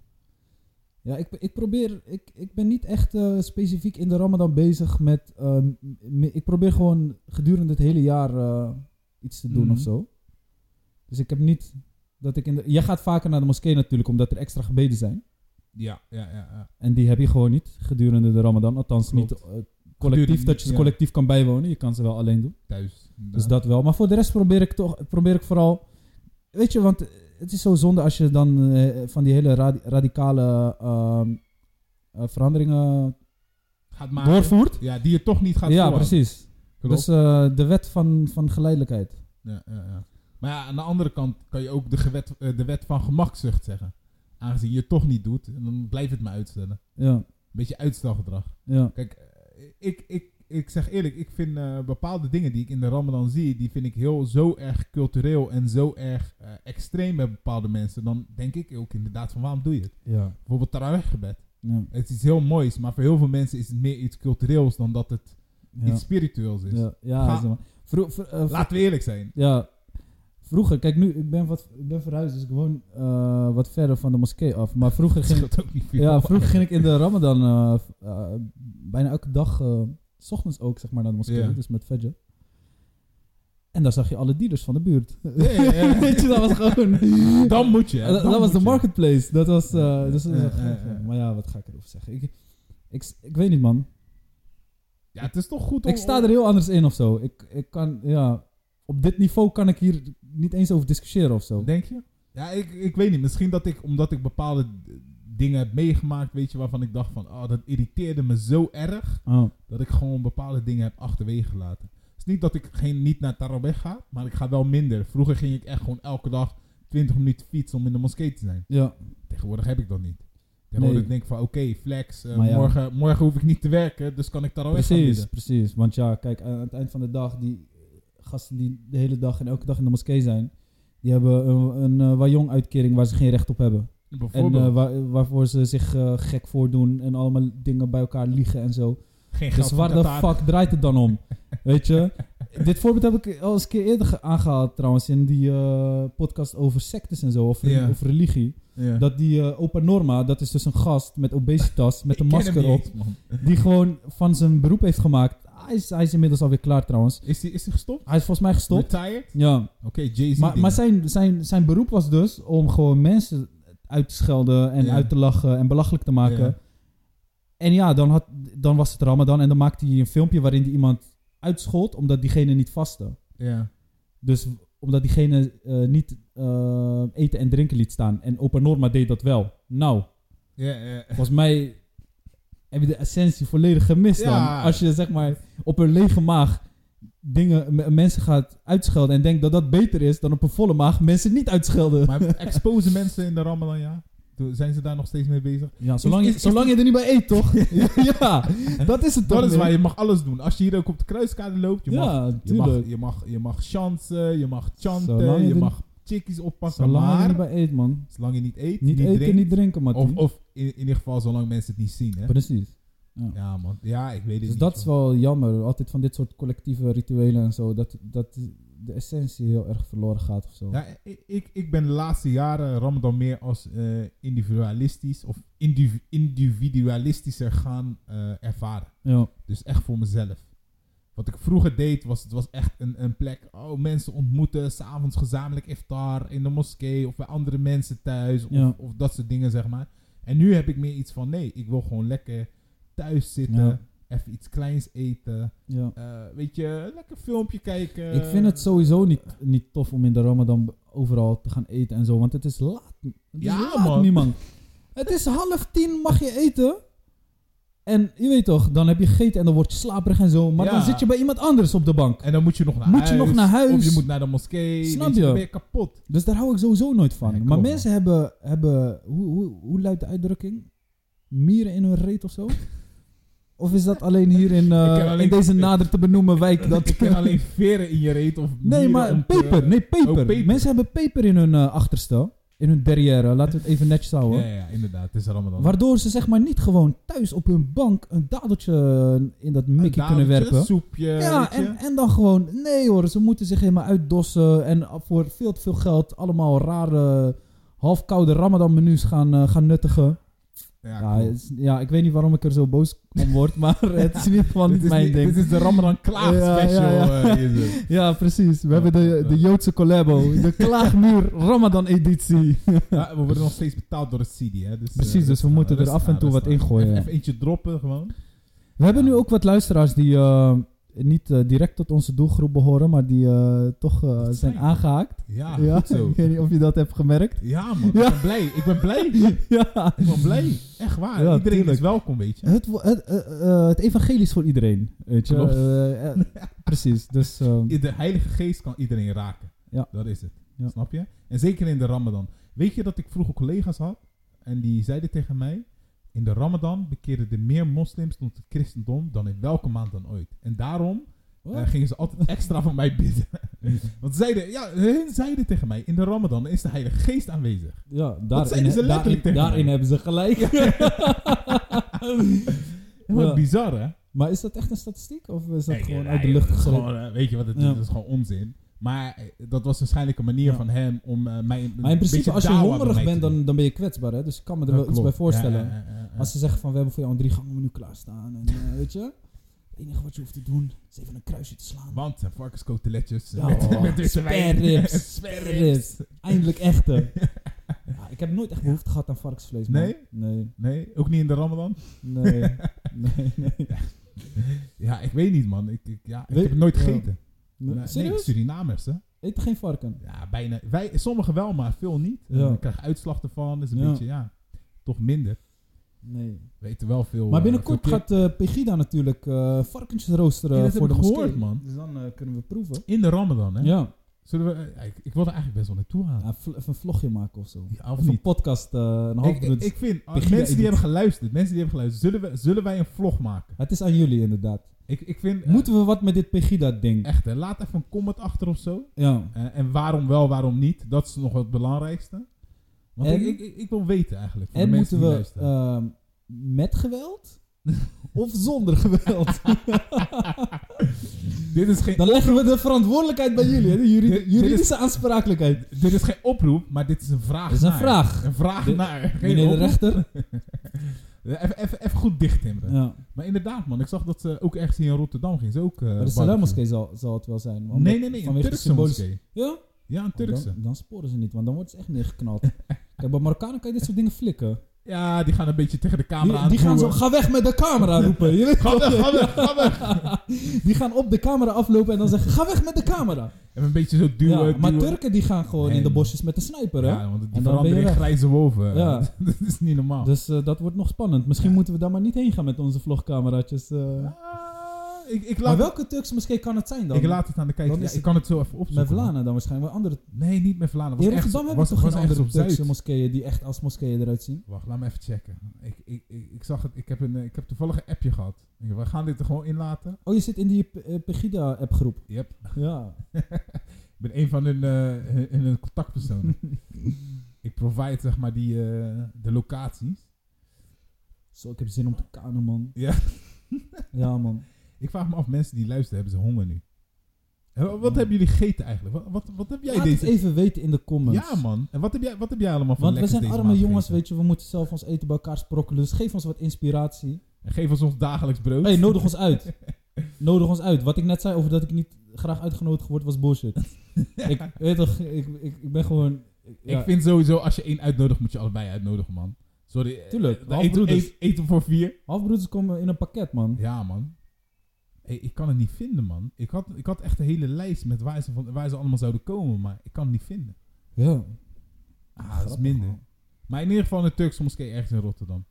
[SPEAKER 3] Ja, ik, ik probeer, ik, ik ben niet echt eh, specifiek in de Ramadan bezig met. ehm, m- ik probeer gewoon gedurende het hele jaar eh, iets te doen
[SPEAKER 1] Mhm.
[SPEAKER 3] of zo. Dus ik heb niet dat ik in de. Jij gaat vaker naar de moskee natuurlijk, omdat er extra gebeden zijn.
[SPEAKER 1] Ja, ja, ja. ja.
[SPEAKER 3] En die heb je gewoon niet gedurende de Ramadan. Althans,
[SPEAKER 1] Klopt.
[SPEAKER 3] niet eh, collectief, dat je ze
[SPEAKER 1] ja.
[SPEAKER 3] collectief kan bijwonen. Je kan ze wel alleen doen.
[SPEAKER 1] Thuis.
[SPEAKER 3] Dus dat wel. Maar voor de rest probeer ik toch, probeer ik vooral. Weet je, want het is zo zonde als je dan eh, van die hele radi- radicale ehm, eh, veranderingen
[SPEAKER 1] gaat maken.
[SPEAKER 3] doorvoert.
[SPEAKER 1] Ja, die je toch niet Ah, gaat
[SPEAKER 3] Ja,
[SPEAKER 1] volhouden.
[SPEAKER 3] precies.
[SPEAKER 1] Klopt.
[SPEAKER 3] Dus eh, de wet van, van geleidelijkheid.
[SPEAKER 1] Ja, ja, ja. Maar ja, aan de andere kant kan je ook de, gewet, eh, de wet van gemakzucht zeggen. Aangezien je het toch niet doet, en dan blijf het maar uitstellen.
[SPEAKER 3] Ja,
[SPEAKER 1] Beetje uitstelgedrag.
[SPEAKER 3] ja,
[SPEAKER 1] Kijk, eh, ik, ik, ik zeg eerlijk, ik vind eh, bepaalde dingen die ik in de Ramadan zie, die vind ik heel zo erg cultureel en zo erg eh, extreem bij bepaalde mensen. Dan denk ik ook inderdaad van waarom doe je het?
[SPEAKER 3] ja,
[SPEAKER 1] Bijvoorbeeld tarawihgebed.
[SPEAKER 3] ja,
[SPEAKER 1] Het is iets heel moois, maar voor heel veel mensen is het meer iets cultureels dan dat het
[SPEAKER 3] ja.
[SPEAKER 1] iets spiritueels is.
[SPEAKER 3] ja, ja,
[SPEAKER 1] Ga-
[SPEAKER 3] zeg maar. Vro- vro- eh, vro-
[SPEAKER 1] Laten we eerlijk zijn.
[SPEAKER 3] ja, vroeger, kijk nu, ik ben, wat, ik ben verhuisd, dus ik woon eh, wat verder van de moskee af. Maar vroeger
[SPEAKER 1] Dat <laughs>
[SPEAKER 3] ging,
[SPEAKER 1] scheelt ook niet veel.
[SPEAKER 3] Ja, vroeger ging ik in de Ramadan eh, v- eh, bijna elke dag, eh, s ochtends ook, zeg maar, naar de moskee.
[SPEAKER 1] Ja.
[SPEAKER 3] Dus met Fajr. En daar zag je alle dealers van de buurt.
[SPEAKER 1] <laughs> Ja, ja, ja.
[SPEAKER 3] <laughs> Weet je, dat was gewoon...
[SPEAKER 1] Dan moet je. hè,
[SPEAKER 3] Eh, dat,
[SPEAKER 1] dan
[SPEAKER 3] was
[SPEAKER 1] moet
[SPEAKER 3] de
[SPEAKER 1] je.
[SPEAKER 3] marketplace. Dat was... eh,
[SPEAKER 1] Ja,
[SPEAKER 3] dus dat was
[SPEAKER 1] ja,
[SPEAKER 3] een
[SPEAKER 1] ja,
[SPEAKER 3] gek,
[SPEAKER 1] ja.
[SPEAKER 3] ja. Maar ja, wat ga ik erover zeggen? Ik, ik, s- ik weet niet, man.
[SPEAKER 1] Ja, het is toch goed om...
[SPEAKER 3] Ik sta er heel anders in of zo. Ik, ik kan, ja... Op dit niveau kan ik hier niet eens over discussiëren of zo.
[SPEAKER 1] Denk je? Ja, ik, ik weet niet. Misschien dat ik, omdat ik bepaalde d- dingen heb meegemaakt, weet je, waarvan ik dacht van, oh, dat irriteerde me zo erg,
[SPEAKER 3] Oh,
[SPEAKER 1] dat ik gewoon bepaalde dingen heb achterwege gelaten. Het is niet dat ik geen, niet naar Taraweh ga, maar ik ga wel minder. Vroeger ging ik echt gewoon elke dag 20 minuten fietsen om in de moskee te zijn.
[SPEAKER 3] ja.
[SPEAKER 1] Tegenwoordig heb ik dat niet. Tegenwoordig
[SPEAKER 3] Nee.
[SPEAKER 1] denk ik van, oké, flex, eh,
[SPEAKER 3] Maar ja.
[SPEAKER 1] morgen, morgen hoef ik niet te werken, dus kan ik Taraweh gaan
[SPEAKER 3] Precies,
[SPEAKER 1] bidden.
[SPEAKER 3] precies. Want ja, kijk, aan het eind van de dag, die gasten die de hele dag en elke dag in de moskee zijn, die hebben een, een eh, Wajong-uitkering waar ze geen recht op hebben. En
[SPEAKER 1] Bijvoorbeeld,
[SPEAKER 3] eh, waar- waarvoor ze zich eh, gek voordoen en allemaal dingen bij elkaar liegen en zo.
[SPEAKER 1] geen geld
[SPEAKER 3] Dus
[SPEAKER 1] voor
[SPEAKER 3] waar de
[SPEAKER 1] Qatar.
[SPEAKER 3] fuck draait het dan
[SPEAKER 1] <laughs>
[SPEAKER 3] om? Weet je? Dit voorbeeld heb ik al eens een keer eerder ge- aangehaald trouwens in die eh, podcast over sectes en zo, of,
[SPEAKER 1] Ja.
[SPEAKER 3] of religie.
[SPEAKER 1] Ja.
[SPEAKER 3] Dat die eh, opa Norma, dat is dus een gast met obesitas, met
[SPEAKER 1] Ik
[SPEAKER 3] een
[SPEAKER 1] ken hem
[SPEAKER 3] masker
[SPEAKER 1] niet
[SPEAKER 3] op
[SPEAKER 1] eens, man.
[SPEAKER 3] die gewoon van zijn beroep heeft gemaakt. Hij is, hij is inmiddels alweer klaar trouwens.
[SPEAKER 1] Is hij is die gestopt?
[SPEAKER 3] Hij is volgens mij gestopt.
[SPEAKER 1] Retired?
[SPEAKER 3] Ja.
[SPEAKER 1] Oké, Jay-Z.
[SPEAKER 3] Maar, maar
[SPEAKER 1] dingen.
[SPEAKER 3] zijn, zijn, zijn beroep was dus om gewoon mensen uit te schelden en
[SPEAKER 1] Ja.
[SPEAKER 3] uit te lachen en belachelijk te maken.
[SPEAKER 1] Ja.
[SPEAKER 3] En ja, dan, had, dan was het Ramadan en dan maakte hij een filmpje waarin hij iemand uitschold omdat diegene niet vastte.
[SPEAKER 1] Ja.
[SPEAKER 3] Dus omdat diegene eh, niet eh, eten en drinken liet staan. En Opa Norma deed dat wel. Nou,
[SPEAKER 1] Ja, ja.
[SPEAKER 3] Volgens mij heb je de essentie volledig gemist
[SPEAKER 1] Ja.
[SPEAKER 3] dan. Als je zeg maar op een lege maag dingen, m- mensen gaat uitschelden en denkt dat dat beter is dan op een volle maag mensen niet uitschelden.
[SPEAKER 1] Maar exposen mensen in de Ramadan, ja? Doe- Zijn ze daar nog steeds mee bezig?
[SPEAKER 3] ja, zolang, je,
[SPEAKER 1] is- is-
[SPEAKER 3] zolang je er niet bij eet, toch? <laughs> ja, dat is het toch?
[SPEAKER 1] Dat is
[SPEAKER 3] man?
[SPEAKER 1] waar je mag alles doen. Als je hier ook op de kruiskade loopt, je mag...
[SPEAKER 3] Ja,
[SPEAKER 1] Je mag,
[SPEAKER 3] tuurlijk.
[SPEAKER 1] je, mag, je mag chansen, je mag
[SPEAKER 3] Zolang
[SPEAKER 1] chanten,
[SPEAKER 3] je
[SPEAKER 1] je
[SPEAKER 3] er-
[SPEAKER 1] mag chickies oppakken,
[SPEAKER 3] zolang je er
[SPEAKER 1] maar
[SPEAKER 3] niet bij eet, man.
[SPEAKER 1] zolang je niet eet,
[SPEAKER 3] Niet, eten,
[SPEAKER 1] drinkt,
[SPEAKER 3] niet drinken, man.
[SPEAKER 1] of, of in, in ieder geval zolang mensen het niet zien, hè?
[SPEAKER 3] Precies.
[SPEAKER 1] Ja, man. Ja, ik weet het
[SPEAKER 3] Dus
[SPEAKER 1] niet.
[SPEAKER 3] dat is
[SPEAKER 1] joh.
[SPEAKER 3] wel jammer. Altijd van dit soort collectieve rituelen en zo. Dat, dat de essentie heel erg verloren gaat of zo.
[SPEAKER 1] Ja, ik- ik, ik ben de laatste jaren Ramadan meer als eh, individualistisch of indiv- individualistischer gaan eh, ervaren.
[SPEAKER 3] ja.
[SPEAKER 1] Dus echt voor mezelf. Wat ik vroeger deed, was het was echt een, een plek. Oh, mensen ontmoeten, s'avonds gezamenlijk iftar in de moskee of bij andere mensen thuis. Of,
[SPEAKER 3] Ja.
[SPEAKER 1] of dat soort dingen, zeg maar. En nu heb ik meer iets van, nee, ik wil gewoon lekker thuis zitten.
[SPEAKER 3] Ja.
[SPEAKER 1] Even iets kleins eten.
[SPEAKER 3] ja.
[SPEAKER 1] eh, weet je, lekker filmpje kijken.
[SPEAKER 3] Ik vind het sowieso niet, niet tof om in de Ramadan overal te gaan eten en zo, want het is laat. Het is
[SPEAKER 1] Ja,
[SPEAKER 3] laat,
[SPEAKER 1] man.
[SPEAKER 3] niemand. Het is half tien mag je eten. En je weet toch, dan heb je gegeten en dan word je slaperig en zo. Maar
[SPEAKER 1] Ja.
[SPEAKER 3] dan zit je bij iemand anders op de bank.
[SPEAKER 1] En dan moet je nog naar
[SPEAKER 3] Moet je
[SPEAKER 1] huis.
[SPEAKER 3] nog naar huis?
[SPEAKER 1] Of je moet naar de moskee.
[SPEAKER 3] Snap
[SPEAKER 1] weet je,
[SPEAKER 3] je?
[SPEAKER 1] Dan ben je kapot.
[SPEAKER 3] Dus daar hou ik sowieso nooit van.
[SPEAKER 1] Nee,
[SPEAKER 3] maar
[SPEAKER 1] klopt,
[SPEAKER 3] mensen hebben, hebben hoe, hoe, hoe luidt de uitdrukking? Mieren in hun reet of
[SPEAKER 1] <laughs>
[SPEAKER 3] zo? Of is dat alleen hier in, eh,
[SPEAKER 1] Ik ken alleen-
[SPEAKER 3] in deze nader te benoemen
[SPEAKER 1] <laughs>
[SPEAKER 3] wijk? Dat
[SPEAKER 1] Ik
[SPEAKER 3] <laughs>
[SPEAKER 1] ken alleen veren in je reet of
[SPEAKER 3] Nee,
[SPEAKER 1] mieren
[SPEAKER 3] maar
[SPEAKER 1] om te-
[SPEAKER 3] peper. Nee, peper.
[SPEAKER 1] Oh, peper.
[SPEAKER 3] Mensen hebben peper in hun eh, achterstel. in hun derrière. Laten we het even netjes houden.
[SPEAKER 1] Ja, ja, inderdaad. Het is Ramadan.
[SPEAKER 3] Waardoor ze zeg maar niet gewoon thuis op hun bank een dadeltje eh, in dat mikkie kunnen
[SPEAKER 1] Dadeltje, eh,
[SPEAKER 3] werpen.
[SPEAKER 1] soepje,
[SPEAKER 3] Ja,
[SPEAKER 1] weet je.
[SPEAKER 3] en, en dan gewoon, nee hoor, ze moeten zich helemaal uitdossen en voor veel te veel geld allemaal rare halfkoude ramadan menus gaan, eh, gaan nuttigen.
[SPEAKER 1] Ja,
[SPEAKER 3] Ja,
[SPEAKER 1] klopt.
[SPEAKER 3] het is- ja, ik weet niet waarom ik er zo boos om word,
[SPEAKER 1] <laughs>
[SPEAKER 3] maar het is in ieder geval
[SPEAKER 1] Dit
[SPEAKER 3] niet
[SPEAKER 1] is
[SPEAKER 3] mijn
[SPEAKER 1] niet-
[SPEAKER 3] ding.
[SPEAKER 1] Dit is de Ramadan Klaag
[SPEAKER 3] Ja, ja,
[SPEAKER 1] special.
[SPEAKER 3] ja.
[SPEAKER 1] eh, is
[SPEAKER 3] <laughs>
[SPEAKER 1] het.
[SPEAKER 3] Ja, precies. We
[SPEAKER 1] Ja,
[SPEAKER 3] hebben de,
[SPEAKER 1] ja.
[SPEAKER 3] de Joodse collabo, <laughs> de klaagmuur ramadan editie.
[SPEAKER 1] Ja, we worden nog steeds betaald door het CD. Hè? Dus, eh,
[SPEAKER 3] Precies, dus we
[SPEAKER 1] aan,
[SPEAKER 3] moeten er
[SPEAKER 1] rustig
[SPEAKER 3] af en
[SPEAKER 1] aan,
[SPEAKER 3] toe wat
[SPEAKER 1] rustig aan.
[SPEAKER 3] ingooien.
[SPEAKER 1] Even, even eentje droppen gewoon.
[SPEAKER 3] We hebben nu ook wat luisteraars die eh, niet eh, direct tot onze doelgroep behoren, maar die eh, toch eh,
[SPEAKER 1] Dat
[SPEAKER 3] zijn
[SPEAKER 1] zijn-
[SPEAKER 3] aangehaakt.
[SPEAKER 1] Ja,
[SPEAKER 3] ja,
[SPEAKER 1] goed zo.
[SPEAKER 3] <laughs> ik weet niet of je dat hebt gemerkt.
[SPEAKER 1] Ja man,
[SPEAKER 3] Ja.
[SPEAKER 1] ik ben blij. Ik ben blij.
[SPEAKER 3] <laughs> ja.
[SPEAKER 1] Ik ben blij. Echt waar.
[SPEAKER 3] Ja,
[SPEAKER 1] Iedereen
[SPEAKER 3] tuurlijk.
[SPEAKER 1] is welkom, weet je.
[SPEAKER 3] Het, wo- het, eh, eh, het evangelie is voor iedereen, weet je.
[SPEAKER 1] Klopt.
[SPEAKER 3] Eh, <laughs> eh, precies, dus... ehm,
[SPEAKER 1] De Heilige Geest kan iedereen raken.
[SPEAKER 3] Ja.
[SPEAKER 1] Dat is het.
[SPEAKER 3] Ja.
[SPEAKER 1] Snap je? En zeker in de Ramadan. Weet je dat ik vroeger collega's had en die zeiden tegen mij: in de Ramadan bekeerden er meer moslims tot het christendom dan in welke maand dan ooit. En daarom eh,
[SPEAKER 3] Wat?
[SPEAKER 1] gingen ze altijd extra van mij bidden. <laughs> Want ze zeiden, ja, hun zeiden tegen mij: in de Ramadan is de Heilige Geest aanwezig.
[SPEAKER 3] ja,
[SPEAKER 1] zeiden ze letterlijk tegen mij.
[SPEAKER 3] hebben ze gelijk. <laughs>
[SPEAKER 1] Heel
[SPEAKER 3] Ja.
[SPEAKER 1] bizar, hè?
[SPEAKER 3] maar is dat echt een statistiek? Of is dat
[SPEAKER 1] Nee,
[SPEAKER 3] gewoon
[SPEAKER 1] nee,
[SPEAKER 3] uit de lucht
[SPEAKER 1] dat is
[SPEAKER 3] gegrepen?
[SPEAKER 1] gewoon, eh, Weet je wat, het is?
[SPEAKER 3] Ja.
[SPEAKER 1] Dat is gewoon onzin. Maar eh, dat was waarschijnlijk een manier
[SPEAKER 3] Ja.
[SPEAKER 1] van hem om eh, mij een
[SPEAKER 3] Maar in principe,
[SPEAKER 1] beetje
[SPEAKER 3] als je
[SPEAKER 1] dawah bij
[SPEAKER 3] hongerig
[SPEAKER 1] mij te
[SPEAKER 3] bent,
[SPEAKER 1] doen.
[SPEAKER 3] dan, dan ben je kwetsbaar, hè? Dus ik kan me er
[SPEAKER 1] Dat
[SPEAKER 3] wel iets
[SPEAKER 1] klopt.
[SPEAKER 3] bij voorstellen.
[SPEAKER 1] Ja, ja, ja, ja, ja.
[SPEAKER 3] Als ze zeggen van, we hebben voor jou een drie gangen menu klaarstaan. En, eh, weet je, het enige wat je hoeft te doen, is even een kruisje te slaan.
[SPEAKER 1] Want eh, varkenskoteletjes eh,
[SPEAKER 3] Ja,
[SPEAKER 1] <laughs> met,
[SPEAKER 3] <laughs> oh,
[SPEAKER 1] met witte wijn. <laughs>
[SPEAKER 3] sperrips,
[SPEAKER 1] Sperrips.
[SPEAKER 3] Eindelijk
[SPEAKER 1] <laughs>
[SPEAKER 3] echte. Ja, ik heb nooit echt behoefte gehad aan varkensvlees, man.
[SPEAKER 1] Nee?
[SPEAKER 3] Nee,
[SPEAKER 1] Nee, ook niet in de Ramadan. <laughs>
[SPEAKER 3] nee, nee. nee.
[SPEAKER 1] Ja, ik weet niet, man. Ik, ik, ja, ik
[SPEAKER 3] Weet-
[SPEAKER 1] heb het nooit
[SPEAKER 3] ja.
[SPEAKER 1] gegeten.
[SPEAKER 3] Nee,
[SPEAKER 1] Nee, Nee,
[SPEAKER 3] Serieus?
[SPEAKER 1] Surinamers, hè?
[SPEAKER 3] Eet geen varken.
[SPEAKER 1] Ja, bijna. Wij, sommigen wel, maar veel niet.
[SPEAKER 3] Ja.
[SPEAKER 1] En Ik krijg uitslag ervan. Dus een
[SPEAKER 3] Ja.
[SPEAKER 1] beetje, ja, toch minder.
[SPEAKER 3] Nee.
[SPEAKER 1] We weten wel veel.
[SPEAKER 3] Maar
[SPEAKER 1] eh,
[SPEAKER 3] binnenkort
[SPEAKER 1] veel
[SPEAKER 3] gaat eh, Pegida natuurlijk eh, varkentjes roosteren
[SPEAKER 1] Ja, dat heb
[SPEAKER 3] voor de
[SPEAKER 1] ik
[SPEAKER 3] moskee.
[SPEAKER 1] gehoord, man.
[SPEAKER 3] Dus dan eh, kunnen we proeven.
[SPEAKER 1] keer- In de Ramadan, hè?
[SPEAKER 3] Ja.
[SPEAKER 1] Zullen we, eh, ik, ik wil er eigenlijk best wel naartoe gaan.
[SPEAKER 3] Ja, vl- even een vlogje maken of zo.
[SPEAKER 1] Ja, of
[SPEAKER 3] Of een
[SPEAKER 1] niet?
[SPEAKER 3] podcast, eh, een half
[SPEAKER 1] Ik, ik,
[SPEAKER 3] minuut.
[SPEAKER 1] ik vind, als
[SPEAKER 3] Begin
[SPEAKER 1] mensen
[SPEAKER 3] bij
[SPEAKER 1] die
[SPEAKER 3] Edith.
[SPEAKER 1] hebben geluisterd, mensen die hebben geluisterd, zullen, we, zullen wij een vlog maken?
[SPEAKER 3] Het is aan jullie inderdaad.
[SPEAKER 1] Ik, ik vind, eh,
[SPEAKER 3] Moeten we wat met dit Pegida-ding?
[SPEAKER 1] echt, hè, laat even een comment achter of zo.
[SPEAKER 3] Ja.
[SPEAKER 1] Eh, en waarom wel, waarom niet, dat is nog het belangrijkste. Want
[SPEAKER 3] En-
[SPEAKER 1] ik, ik, ik, ik wil weten eigenlijk, voor
[SPEAKER 3] En
[SPEAKER 1] de mensen
[SPEAKER 3] moeten
[SPEAKER 1] die
[SPEAKER 3] we
[SPEAKER 1] luisteren.
[SPEAKER 3] ehm, met
[SPEAKER 1] <laughs>
[SPEAKER 3] geweld of zonder geweld?
[SPEAKER 1] dit, is geen,
[SPEAKER 3] Dan leggen we de verantwoordelijkheid bij jullie, hè? de juri-
[SPEAKER 1] Dit- dit
[SPEAKER 3] juridische aansprakelijkheid.
[SPEAKER 1] dit is geen oproep, maar dit is een vraag
[SPEAKER 3] Dat is een
[SPEAKER 1] naar.
[SPEAKER 3] vraag.
[SPEAKER 1] Een vraag
[SPEAKER 3] Dit-
[SPEAKER 1] naar. Geen
[SPEAKER 3] Meneer de
[SPEAKER 1] nou oproep. Eh,
[SPEAKER 3] rechter.
[SPEAKER 1] Even, even, even goed dicht timmeren.
[SPEAKER 3] Ja.
[SPEAKER 1] Maar inderdaad man, ik zag dat ze ook ergens hier in Rotterdam ging. Ze ook, eh,
[SPEAKER 3] Maar de
[SPEAKER 1] barbecue.
[SPEAKER 3] Salam-moskee zal, zal het wel zijn. want
[SPEAKER 1] Nee, nee, nee, een
[SPEAKER 3] vanwege de
[SPEAKER 1] Turkse
[SPEAKER 3] symbolische-
[SPEAKER 1] moskee.
[SPEAKER 3] Ja?
[SPEAKER 1] Ja, een Turkse.
[SPEAKER 3] Dan, dan sporen ze niet, want dan worden ze echt
[SPEAKER 1] <laughs>
[SPEAKER 3] neergeknald. Kijk, bij Marokkanen kan je dit soort dingen flikken.
[SPEAKER 1] Ja, die gaan een beetje tegen de camera
[SPEAKER 3] Die,
[SPEAKER 1] aan
[SPEAKER 3] die gaan zo,
[SPEAKER 1] duwen.
[SPEAKER 3] ga weg met de camera
[SPEAKER 1] <laughs>
[SPEAKER 3] roepen. Je weet
[SPEAKER 1] Ga
[SPEAKER 3] toch?
[SPEAKER 1] weg, ga weg, ga
[SPEAKER 3] <laughs>
[SPEAKER 1] weg.
[SPEAKER 3] Die gaan op de camera aflopen en dan zeggen, ga weg met de
[SPEAKER 1] <laughs>
[SPEAKER 3] camera.
[SPEAKER 1] En een beetje zo duwen,
[SPEAKER 3] ja, maar
[SPEAKER 1] duwen.
[SPEAKER 3] Turken die gaan gewoon
[SPEAKER 1] Nee,
[SPEAKER 3] in de
[SPEAKER 1] man.
[SPEAKER 3] bosjes met de sniper, hè?
[SPEAKER 1] Ja, want
[SPEAKER 3] ben
[SPEAKER 1] die
[SPEAKER 3] je
[SPEAKER 1] veranderen in
[SPEAKER 3] weg.
[SPEAKER 1] grijze wolven.
[SPEAKER 3] Ja.
[SPEAKER 1] <laughs> dat is niet normaal.
[SPEAKER 3] Dus eh, dat wordt nog spannend. Misschien
[SPEAKER 1] Ja.
[SPEAKER 3] moeten we daar maar niet heen gaan met onze vlogcameraatjes. eh.
[SPEAKER 1] Ah, ik, ik,
[SPEAKER 3] Maar
[SPEAKER 1] laat,
[SPEAKER 3] welke Turkse moskee kan het zijn dan?
[SPEAKER 1] ik laat het aan de kijker.
[SPEAKER 3] Dan is
[SPEAKER 1] Ja, ik
[SPEAKER 3] het-
[SPEAKER 1] kan het zo even opzoeken.
[SPEAKER 3] Mevlana dan waarschijnlijk. Maar andere...
[SPEAKER 1] man. Nee, niet Mevlana. Was
[SPEAKER 3] In
[SPEAKER 1] echt,
[SPEAKER 3] Rotterdam hebben
[SPEAKER 1] was,
[SPEAKER 3] we toch
[SPEAKER 1] was
[SPEAKER 3] geen
[SPEAKER 1] ergens
[SPEAKER 3] andere
[SPEAKER 1] op Zuid.
[SPEAKER 3] Turkse moskeeën die echt als moskeeën eruit zien?
[SPEAKER 1] Wacht, laat me even checken. Ik, ik, ik, ik zag het. Ik heb, een, eh, ik heb toevallig een appje gehad. Ik- We gaan dit er gewoon inlaten.
[SPEAKER 3] Oh, je zit in die P- eh, Pegida-appgroep.
[SPEAKER 1] Yep.
[SPEAKER 3] Ja.
[SPEAKER 1] Ik ben een van hun, eh, hun, hun contactpersonen.
[SPEAKER 3] <laughs>
[SPEAKER 1] ik provide zeg maar die, eh, de locaties.
[SPEAKER 3] Zo, ik heb zin om te kanen, man.
[SPEAKER 1] Ja.
[SPEAKER 3] ja, man.
[SPEAKER 1] Ik vraag me af, mensen die luisteren, hebben ze honger nu? Eh, Wat
[SPEAKER 3] Man.
[SPEAKER 1] hebben jullie gegeten eigenlijk? Wat, wat, wat heb <laughs> jij
[SPEAKER 3] Laat
[SPEAKER 1] deze
[SPEAKER 3] het even weten in de comments.
[SPEAKER 1] Ja, man. En wat heb jij, wat heb jij allemaal van
[SPEAKER 3] Want we
[SPEAKER 1] lekkers
[SPEAKER 3] zijn
[SPEAKER 1] deze
[SPEAKER 3] arme
[SPEAKER 1] maand
[SPEAKER 3] jongens,
[SPEAKER 1] gegeten?
[SPEAKER 3] weet je. We moeten zelf ons eten bij elkaar sprokkelen. Dus geef ons wat inspiratie.
[SPEAKER 1] En geef ons ons dagelijks brood.
[SPEAKER 3] Hey, nodig ons uit. <laughs> Nodig ons uit. Wat ik net zei over dat ik niet graag uitgenodigd word, was <laughs> bullshit. ik weet toch, ik, ik, ik ben gewoon... ja.
[SPEAKER 1] Ik vind sowieso, als je één uitnodigt, moet je allebei uitnodigen, man. Sorry. eh,
[SPEAKER 3] Tuurlijk,
[SPEAKER 1] eh, Eten,
[SPEAKER 3] halfbroeders.
[SPEAKER 1] eten, eten voor vier.
[SPEAKER 3] Halfbroeders komen in een pakket, man.
[SPEAKER 1] Ja, man. Hey, ik kan het niet vinden, man. Ik had, ik had echt een hele lijst met waar ze, van, waar ze allemaal zouden komen, maar ik kan het niet vinden.
[SPEAKER 3] Ja.
[SPEAKER 1] Ah, dat is
[SPEAKER 3] Grappig,
[SPEAKER 1] minder.
[SPEAKER 3] man.
[SPEAKER 1] Maar in ieder geval een Turkse moskee ergens in Rotterdam.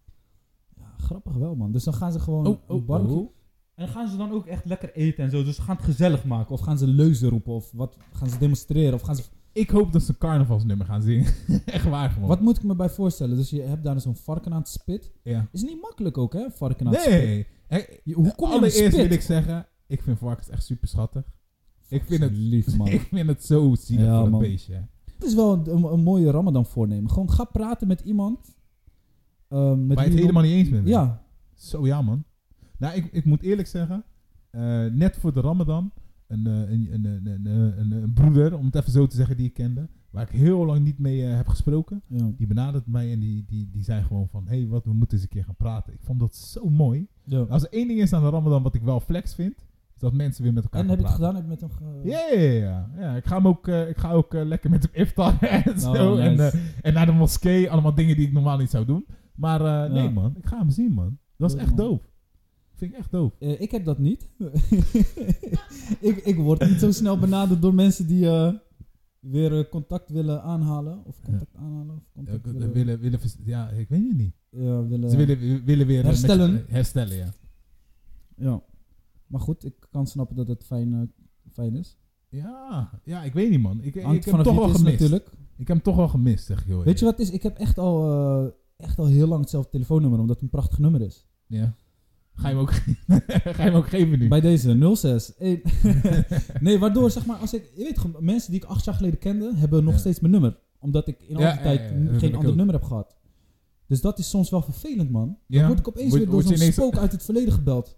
[SPEAKER 3] Ja, grappig wel, man. Dus dan gaan ze gewoon
[SPEAKER 1] Oh,
[SPEAKER 3] een
[SPEAKER 1] oh,
[SPEAKER 3] barbecue...
[SPEAKER 1] oh.
[SPEAKER 3] En gaan ze dan ook echt lekker eten en zo? Dus ze gaan het gezellig maken? Of gaan ze leuzen roepen? Of wat, gaan ze demonstreren? Of gaan ze...
[SPEAKER 1] Ik hoop dat ze een carnavalsnummer gaan zingen. <laughs> echt waar, gewoon.
[SPEAKER 3] Wat moet ik me bij voorstellen? Dus je hebt daar zo'n varken aan het spit.
[SPEAKER 1] Ja.
[SPEAKER 3] Is niet makkelijk ook, hè? Varken aan het Nou, spit.
[SPEAKER 1] Nee. Hey,
[SPEAKER 3] Je- hoe kom je aan het
[SPEAKER 1] Allereerst
[SPEAKER 3] spit?
[SPEAKER 1] wil ik zeggen, ik vind varkens echt super schattig. Ik vind het
[SPEAKER 3] lief, man.
[SPEAKER 1] Ik vind het zo zielig
[SPEAKER 3] Ja,
[SPEAKER 1] voor
[SPEAKER 3] man.
[SPEAKER 1] het beestje. hè.
[SPEAKER 3] Het is wel een, een, een mooie Ramadan voornemen. Gewoon ga praten met iemand. eh, met
[SPEAKER 1] Waar je het
[SPEAKER 3] wie
[SPEAKER 1] helemaal niet eens bent.
[SPEAKER 3] Ja,
[SPEAKER 1] Zo ja, man. Nou, ik, ik moet eerlijk zeggen, eh, net voor de Ramadan, een, eh, een, een, een, een, een, een broeder, om het even zo te zeggen, die ik kende, waar ik heel lang niet mee eh, heb gesproken,
[SPEAKER 3] ja.
[SPEAKER 1] die benadert mij en die, die, die zei gewoon van, hé, hey, wat, we moeten eens een keer gaan praten. Ik vond dat zo mooi.
[SPEAKER 3] ja.
[SPEAKER 1] Als er één ding is aan de Ramadan wat ik wel flex vind, is dat mensen weer met elkaar
[SPEAKER 3] En
[SPEAKER 1] gaan
[SPEAKER 3] heb je het
[SPEAKER 1] praten.
[SPEAKER 3] gedaan? Heb je met hem ge-
[SPEAKER 1] Ja, ja, ja, ja. ja. Ik ga, hem ook, eh, ik ga ook eh, lekker met hem iftar <laughs> en zo.
[SPEAKER 3] Oh, nice.
[SPEAKER 1] en, eh, en naar de moskee. Allemaal dingen die ik normaal niet zou doen. Maar eh,
[SPEAKER 3] Ja.
[SPEAKER 1] nee, man. Ik ga hem zien, man. Dat is
[SPEAKER 3] Leuk,
[SPEAKER 1] echt
[SPEAKER 3] man.
[SPEAKER 1] dope. Vind ik echt dope.
[SPEAKER 3] Eh, ik heb dat niet. <laughs> ik, ik word niet zo snel benaderd door mensen die eh, weer eh, contact willen aanhalen. Of contact aanhalen. Of
[SPEAKER 1] Ja,
[SPEAKER 3] contact
[SPEAKER 1] ik-
[SPEAKER 3] willen,
[SPEAKER 1] willen, willen, vers- ja, ik weet het niet.
[SPEAKER 3] ja, willen,
[SPEAKER 1] Ze willen, willen weer... eh, met-
[SPEAKER 3] herstellen.
[SPEAKER 1] herstellen, ja.
[SPEAKER 3] Ja. Maar goed, ik kan snappen dat het fijn, eh, fijn is.
[SPEAKER 1] Ja, ja, ik weet niet, man. Ik, ik heb
[SPEAKER 3] Hangt
[SPEAKER 1] hem
[SPEAKER 3] vanaf
[SPEAKER 1] toch
[SPEAKER 3] wie
[SPEAKER 1] wel
[SPEAKER 3] het is
[SPEAKER 1] gemist.
[SPEAKER 3] natuurlijk.
[SPEAKER 1] Ik heb hem toch wel gemist, zeg joh.
[SPEAKER 3] Weet je wat het is? Ik heb echt al, eh, echt al heel lang hetzelfde telefoonnummer, omdat het een prachtig nummer is.
[SPEAKER 1] Ja. Ga je hem ook, <laughs> ga je hem ook geven nu?
[SPEAKER 3] Bij deze 06. Eh, <laughs> nee, waardoor zeg maar, als ik, je weet gewoon, mensen die ik acht jaar geleden kende, hebben nog
[SPEAKER 1] Ja.
[SPEAKER 3] steeds mijn nummer. Omdat ik in al die
[SPEAKER 1] Ja, ja,
[SPEAKER 3] tijd
[SPEAKER 1] ja, ja,
[SPEAKER 3] n-
[SPEAKER 1] dat heb
[SPEAKER 3] geen
[SPEAKER 1] ik
[SPEAKER 3] ander
[SPEAKER 1] ook.
[SPEAKER 3] nummer heb gehad. Dus dat is soms wel vervelend, man.
[SPEAKER 1] ja?
[SPEAKER 3] Word ik opeens
[SPEAKER 1] Word-
[SPEAKER 3] weer door
[SPEAKER 1] word je
[SPEAKER 3] zo'n
[SPEAKER 1] ineens-
[SPEAKER 3] spook uit het verleden
[SPEAKER 1] <laughs>
[SPEAKER 3] gebeld.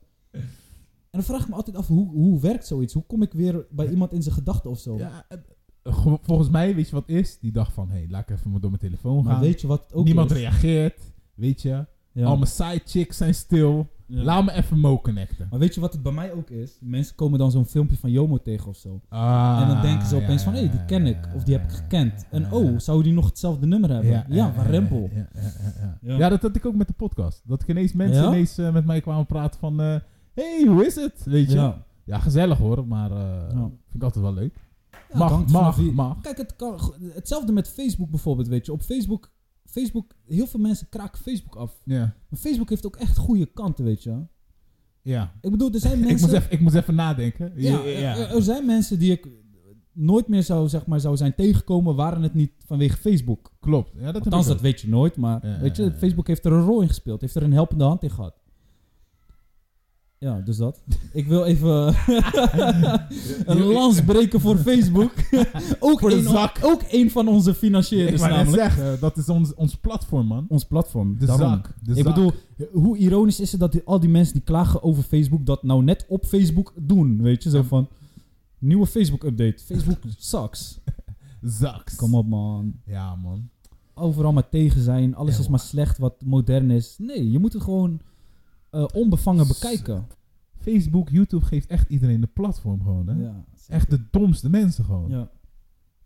[SPEAKER 3] En dan vraag ik me altijd af, hoe, hoe werkt zoiets? Hoe kom ik weer bij iemand in zijn gedachten of zo?
[SPEAKER 1] Ja, eh, ge- volgens mij, weet je wat het is? Die dag van, hé, hey, laat ik even door mijn telefoon
[SPEAKER 3] maar
[SPEAKER 1] gaan.
[SPEAKER 3] weet je wat het ook
[SPEAKER 1] Niemand
[SPEAKER 3] is?
[SPEAKER 1] reageert, weet je.
[SPEAKER 3] Ja.
[SPEAKER 1] Al mijn side chicks zijn stil.
[SPEAKER 3] Ja.
[SPEAKER 1] Laat me even mo connecten.
[SPEAKER 3] Maar weet je wat het bij mij ook is? Mensen komen dan zo'n filmpje van Jomo tegen of zo.
[SPEAKER 1] Ah,
[SPEAKER 3] en dan denken ze opeens
[SPEAKER 1] ja,
[SPEAKER 3] van, hé, hey, die ken ik. Of die heb ik gekend. En oh, zou die nog hetzelfde nummer hebben? Ja, van Rempel.
[SPEAKER 1] Ja, ja, ja, ja.
[SPEAKER 3] Ja.
[SPEAKER 1] Ja, dat had ik ook met de podcast. Dat ik ineens mensen
[SPEAKER 3] Ja?
[SPEAKER 1] ineens eh, met mij kwamen praten van... Hé, hey, hoe is het? Weet je? Ja,
[SPEAKER 3] Ja.
[SPEAKER 1] gezellig hoor, maar eh,
[SPEAKER 3] Ja.
[SPEAKER 1] vind ik altijd wel leuk.
[SPEAKER 3] Ja, het
[SPEAKER 1] mag,
[SPEAKER 3] hangt vanaf
[SPEAKER 1] mag,
[SPEAKER 3] wie-
[SPEAKER 1] mag.
[SPEAKER 3] Kijk, het kan, hetzelfde met Facebook bijvoorbeeld, weet je. Op Facebook, Facebook, heel veel mensen kraken Facebook af.
[SPEAKER 1] Ja,
[SPEAKER 3] Maar Facebook heeft ook echt goede kanten, weet je.
[SPEAKER 1] ja.
[SPEAKER 3] Ik bedoel, er
[SPEAKER 1] <laughs> Ik,
[SPEAKER 3] zijn
[SPEAKER 1] moest
[SPEAKER 3] mensen...
[SPEAKER 1] even, ik moest even nadenken.
[SPEAKER 3] ja, eh, Er, er zijn mensen die ik nooit meer zou, zeg maar, zou zijn tegengekomen, waren het niet vanwege Facebook.
[SPEAKER 1] Klopt. Ja, dat heb
[SPEAKER 3] Althans,
[SPEAKER 1] ik ook.
[SPEAKER 3] dat weet je nooit, maar
[SPEAKER 1] Ja,
[SPEAKER 3] weet
[SPEAKER 1] ja,
[SPEAKER 3] je,
[SPEAKER 1] ja.
[SPEAKER 3] Facebook heeft er een rol in gespeeld, heeft er een helpende hand in gehad. Ja, dus dat. <laughs> Ik wil even eh, <laughs> een lans breken voor
[SPEAKER 1] <laughs>
[SPEAKER 3] Facebook. ook,
[SPEAKER 1] Voor de
[SPEAKER 3] een,
[SPEAKER 1] zak.
[SPEAKER 3] ook een van onze
[SPEAKER 1] Ik
[SPEAKER 3] financierders
[SPEAKER 1] wou net
[SPEAKER 3] namelijk.
[SPEAKER 1] zeggen, dat is ons, ons platform, man.
[SPEAKER 3] Ons platform.
[SPEAKER 1] De
[SPEAKER 3] daarom.
[SPEAKER 1] zak. De
[SPEAKER 3] Ik
[SPEAKER 1] zak.
[SPEAKER 3] bedoel, hoe ironisch is het dat die- al die mensen die klagen over Facebook dat nou net op Facebook doen, weet je? Zo van, nieuwe Facebook-update. Facebook
[SPEAKER 1] <laughs>
[SPEAKER 3] sucks.
[SPEAKER 1] Zaks.
[SPEAKER 3] Kom op man.
[SPEAKER 1] Ja, man.
[SPEAKER 3] overal maar tegen zijn. Alles
[SPEAKER 1] Ja,
[SPEAKER 3] is maar slecht wat modern is. Nee, je moet het gewoon eh, onbevangen
[SPEAKER 1] Zo.
[SPEAKER 3] bekijken.
[SPEAKER 1] Facebook, YouTube geeft echt iedereen de platform gewoon, hè.
[SPEAKER 3] Ja,
[SPEAKER 1] Echt de domste mensen gewoon.
[SPEAKER 3] ja.